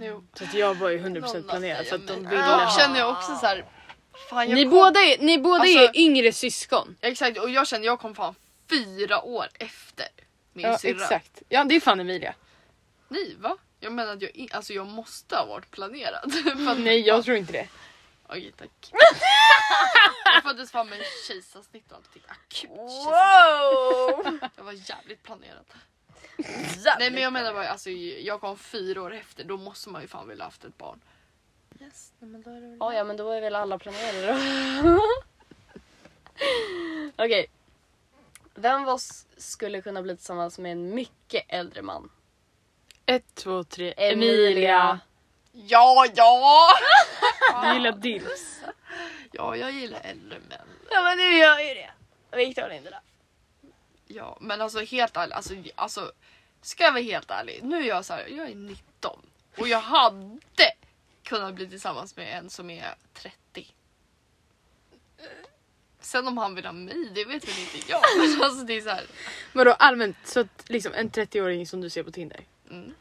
C: Jo.
A: Så att jag var ju
C: Någon
A: 100%
C: måste
A: planerad för att
C: jag
A: de
C: med.
A: ville
C: Mm. Ja,
A: ha.
C: känner jag också så här. Fan, jag
A: Ni
C: kom-
A: båda, är, ni båda är
C: Alltså-
A: yngre syskon.
C: Exakt och jag känner jag kom fan fyra år efter min
A: Ja
C: syrra.
A: exakt. Ja det är fan Emilia.
C: Nej va? Jag menar att jag, in- alltså, jag måste ha varit planerad. För att-
A: Nej jag tror inte det.
C: Okej tack. jag föddes fan med kejsarsnitt och allting. Akut kejsarsnitt.
B: Wow!
C: Jag var jävligt planerad. Nej
B: Nej,
C: men jag menar bara alltså jag kom fyra år efter då måste man ju fan vilja haft ett barn. Yes, nej, men då är det väl...
B: Ja, ja, men då är väl alla planerade då. Okej. Vem av oss skulle kunna bli tillsammans med en mycket äldre man?
A: Ett, två, tre. Emilia.
C: Ja, ja!
A: Du gillar dills.
C: Ja, jag gillar äldre män.
B: Ja, men du gör ju det. Viktor inte det.
C: Ja, men alltså helt ärligt, alltså, alltså ska jag vara helt ärlig, nu är jag så här, jag är 19 och jag hade kunnat bli tillsammans med en som är 30. Sen om han vill ha mig, det vet väl inte jag. Men alltså det är så här,
A: Vadå allmänt? Så att liksom en 30-åring som du ser på Tinder
C: mm,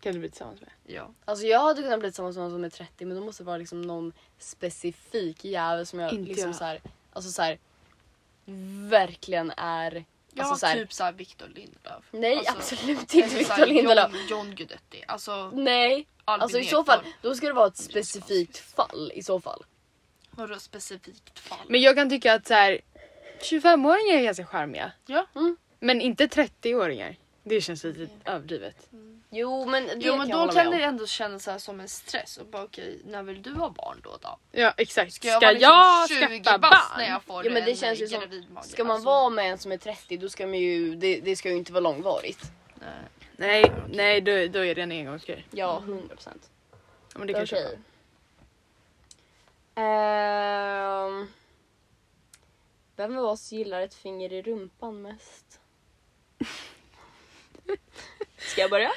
A: kan du bli tillsammans med?
C: ja.
B: Alltså jag hade kunnat bli tillsammans med någon som är 30 men då måste det vara liksom någon specifik jävel som jag
A: Inte
B: liksom
A: jag.
B: så här, alltså så här, verkligen är...
C: Ja,
B: alltså så här,
C: typ såhär Victor Lindelöf.
B: Nej
C: Alltså,
B: absolut
C: eller
B: inte
C: så
B: Victor
C: här
B: Lindelöf.
C: John, John Guidetti, alltså
B: Nej,
C: Albin
B: alltså i så fall
C: Ekdal.
B: då ska det vara ett specifikt fall i så fall.
C: Vadå specifikt fall?
A: Men jag kan tycka att så här 25-åringar är ganska charmiga.
C: Ja. Mm.
B: Mm.
A: Men inte 30-åringar. Det känns lite överdrivet.
B: Jo men det
C: Jo men
B: jag
C: då
B: hålla
C: kan
B: med om.
C: det ändå kännas så här som en stress och bara okej när vill du ha barn då då?
A: Ja exakt. Ska
C: Ska
A: jag,
C: jag vara liksom
A: skaffa
C: 20 bast
A: barn?
C: när jag får
B: Ja, men det
C: en
B: känns ju som-
C: gravid mage?
B: Ska man
C: Alltså,
B: vara med en som är 30 då ska man ju, det, det ska ju inte vara långvarigt.
C: nej.
A: Nej, nej då, då är det en engångsgrej.
B: Ja, 100 procent.
A: Ja, men det kan jag köpa.
B: Ehm, vem av oss gillar ett finger i rumpan mest? Ska jag börja?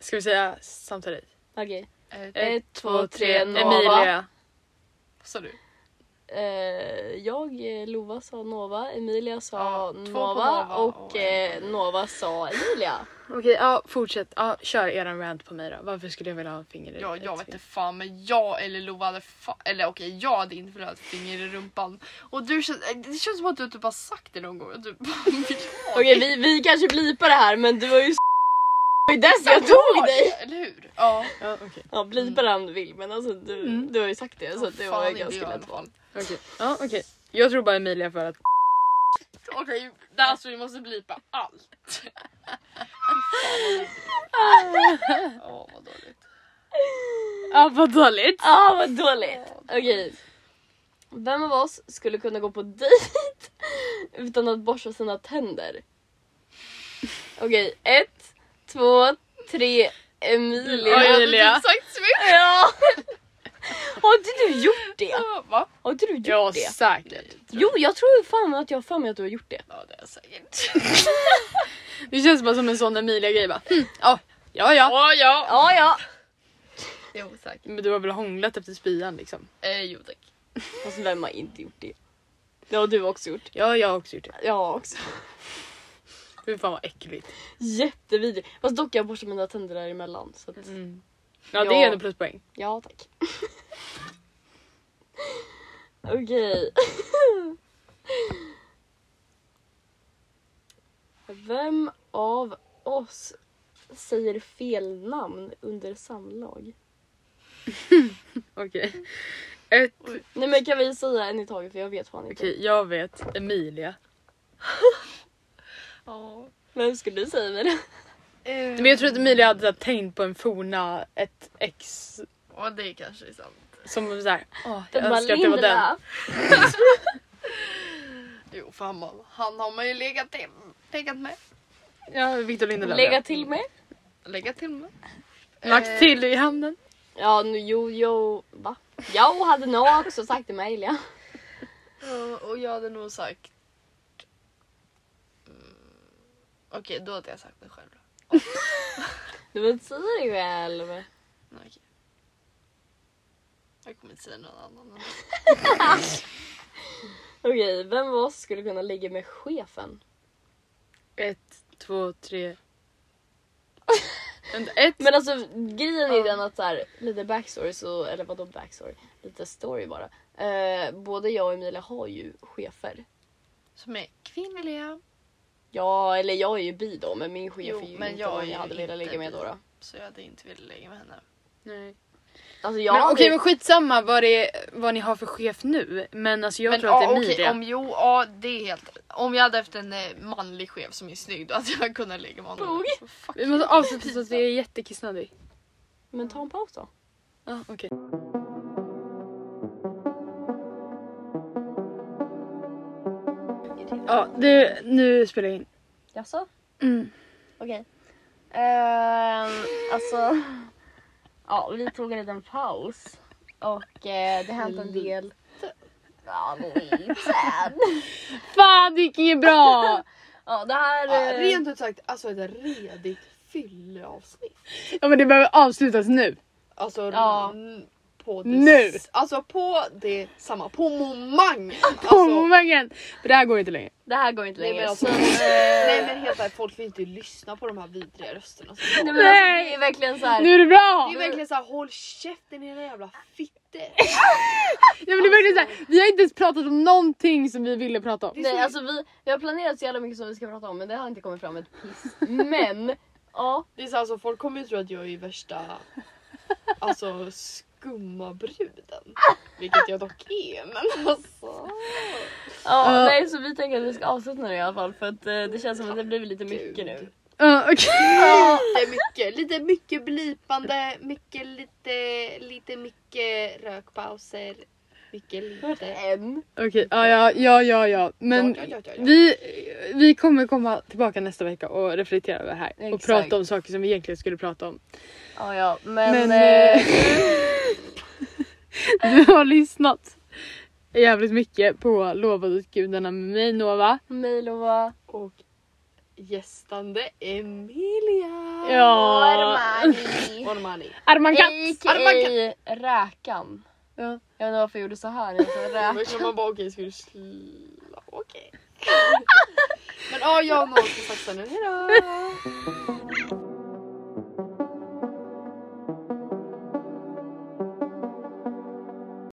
A: Ska vi säga samtidigt?
B: Okej.
C: Eh,
B: Ett, två, tre, Nova.
A: Emilia.
C: vad sa du?
B: Eh, jag, eh, Lova, sa Nova, Emilia sa
C: Ja, två på
B: Nova,
C: Nova
B: och,
C: och
B: eh,
C: en
B: Nova sa Emilia.
A: Okej, ja fortsätt. Ja, kör eran rant på mig då. Varför skulle jag vilja ha en finger i
C: Ja,
A: ett
C: jag vet
A: finger?
C: inte fan men jag eller Lova hade fa- eller okej jag hade inte velat ha ett finger i rumpan och du känns, eh, det känns som att du typ har sagt det någon gång och du bara vill ha
B: Okej vi, vi kanske blipar det här men du var ju s- i dess jag tog dig.
C: det, eller hur? Ja,
A: Ja, okej.
B: Ja blipa det om du vill men alltså du, du har ju sagt det så att Alltså, det
C: Mm. fan
B: var ju
C: inte jag i
B: ganska
C: alla
B: lätt
C: fall.
B: val.
A: Okej. Ja, okej. Jag tror bara Emilia för att...
C: Okej, okay, alltså vi måste blipa allt. Fy fan vad dåligt. Åh
A: Ja, vad
C: vad dåligt.
A: dåligt.
B: Ah vad dåligt! Okej. Vem av oss skulle kunna gå på dejt utan att borsta sina tänder? Okej, ett, två, tre, Emilia.
A: Oj,
C: Jag hade
A: Emilia.
C: typ sagt så mycket.
B: Ja! Har inte du gjort det?
C: Va?
B: Har inte du gjort
A: Ja,
B: det?
A: säkert.
B: Jo, jag tror fan att jag har för mig att du har gjort det.
C: Ja det är jag säkert.
A: Det känns bara som en sån Emilia-grej bara. Hm, ja, ja, ja.
C: Ja ja.
B: Ja, ja.
C: Jo säkert.
A: Men du har väl hånglat efter spyan liksom?
C: Eh, jo tack.
B: Fast vem har inte gjort det? Det har du också gjort.
A: Ja, jag har också gjort det.
B: Jag har också.
A: Fy fan vad äckligt.
B: Jättevidrig. Fast dock jag borstar mina tänder däremellan. Så att,
A: Ja, det är
B: Ja.
A: ändå pluspoäng.
B: ja tack. Okej. Vem av oss säger fel namn under samlag?
A: Okej. Ett, okej
B: Nej men kan vi säga en i taget för jag vet fan inte.
A: jag vet. Emilia.
C: Ja. eh,
B: Vem skulle du säga Emilia?
A: Men jag tror att Emilia hade så här tänkt på en forna, ett ex
C: Och det kanske är sant.
A: som såhär, åh jag
B: Bara,
A: önskar att det var den.
B: Lindelöf.
C: Jo för han, har- han har man ju legat, till, legat med.
A: Ja, Victor Lindelöf.
B: Lägga
A: ja.
B: till mig.
C: Legat till med.
A: Max
C: Eh,
A: till i handen.
B: Ja nu jo jo va? Jag hade nog också sagt till mig Elia.
C: Eh, Ja, och jag hade nog sagt... Mm, Okej, då hade jag sagt mig själv.
B: Du vill säga dig själv.
C: Men Okej. Jag kommer inte säga någon annan.
B: Okej, vem av oss skulle kunna ligga med chefen?
A: Ett, två, tre. Vänta, ett.
B: Men alltså grejen är
A: Ja.
B: den att så här, lite backstory, så, eller vadå backstory? Lite story bara. Eh, både jag och Emilia har ju chefer.
C: Som är kvinnliga.
B: Ja, eller jag är ju bi då, men min chef
C: Jo,
B: är ju
C: men
B: inte
C: jag
B: jag
C: är
B: någon jag
C: ju
B: hade velat
C: inte
B: ligga med
C: bi.
B: då. då.
C: Så jag hade inte velat lägga med henne.
A: Nej.
B: Alltså jag
A: men okej
B: hade-
A: men skitsamma vad, det, vad ni har för chef nu. Men alltså jag
C: men
A: tror att det är
C: ja,
A: Emilia.
C: okej, om, jo, ja, det är helt... Om jag hade haft en eh, manlig chef som är snygg då hade jag kunnat lägga med honom.
B: Bog.
C: Så fuck.
A: Vi måste avsluta så att vi är jättekissnödiga.
B: Men ta en paus då.
A: Ja, okej. Ja, det, nu spelar jag in.
B: Jaså?
A: Mm.
B: Okej. Ehm, alltså, ja vi tog en liten paus och eh, det hände en del. Ja, lite.
A: Fan det gick inget bra!
B: Ja, det här... eh,
C: ut sagt, alltså ett redigt fylleavsnitt.
A: ja men det behöver avslutas nu.
C: Alltså
B: Ja.
C: n- på det
A: Nu.
C: s- Alltså på det samma, på momangen. Alltså,
A: Påmangen! För det här går inte längre.
B: Det här går inte
C: nej,
B: längre.
C: men alltså,
B: Så, eh,
C: nej men helt ärligt, folk vill inte lyssna på de här vidriga rösterna. som
B: nej, men
C: kommer.
A: Nej.
B: alltså, det är verkligen så här.
A: Nu är det bra!
C: Det är verkligen såhär, håll käften era jävla fitter.
A: Ja, men det är verkligen så här, vi har inte ens pratat om någonting som vi ville prata om.
B: Nej, alltså vi, vi har planerat så jävla mycket som vi ska prata om men det har inte kommit fram ett piss. Men, ja.
C: Det är så här, alltså, folk kommer ju tro att jag är värsta alltså, skumma bruden. Vilket jag dock är. Men alltså.
B: ja
A: Ja.
B: nej, så vi tänker att vi ska avsluta nu i alla fall för att eh, det känns som att det blir lite mycket nu.
A: Ja, okej.
C: Lite mycket, lite mycket blipande, mycket lite, lite mycket rökpauser. Mycket lite.
B: En.
A: Okej, ja, ja, ja, ja, ja. Men
C: Ja, ja, ja, ja.
A: Vi, vi kommer komma tillbaka nästa vecka och reflektera över det här. Och
B: Exakt.
A: prata om saker som vi egentligen skulle prata om.
B: Ja, ja, men...
A: Men, eh,
B: eh,
A: Du har lyssnat jävligt mycket på Lovad åt gudarna med mig Nova.
B: Mig Lova.
C: Och gästande Emilia.
B: Armani.
C: Ormani.
A: Arman Katz!
B: A.k.a. Räkan.
A: Ja.
B: Jag vet inte varför jag gjorde så här. Jag sa
C: Men
B: räk.
C: kan man bara okej, ska du slå? Okej. Men ja, jag och Noah ska satsa nu. Hejdå!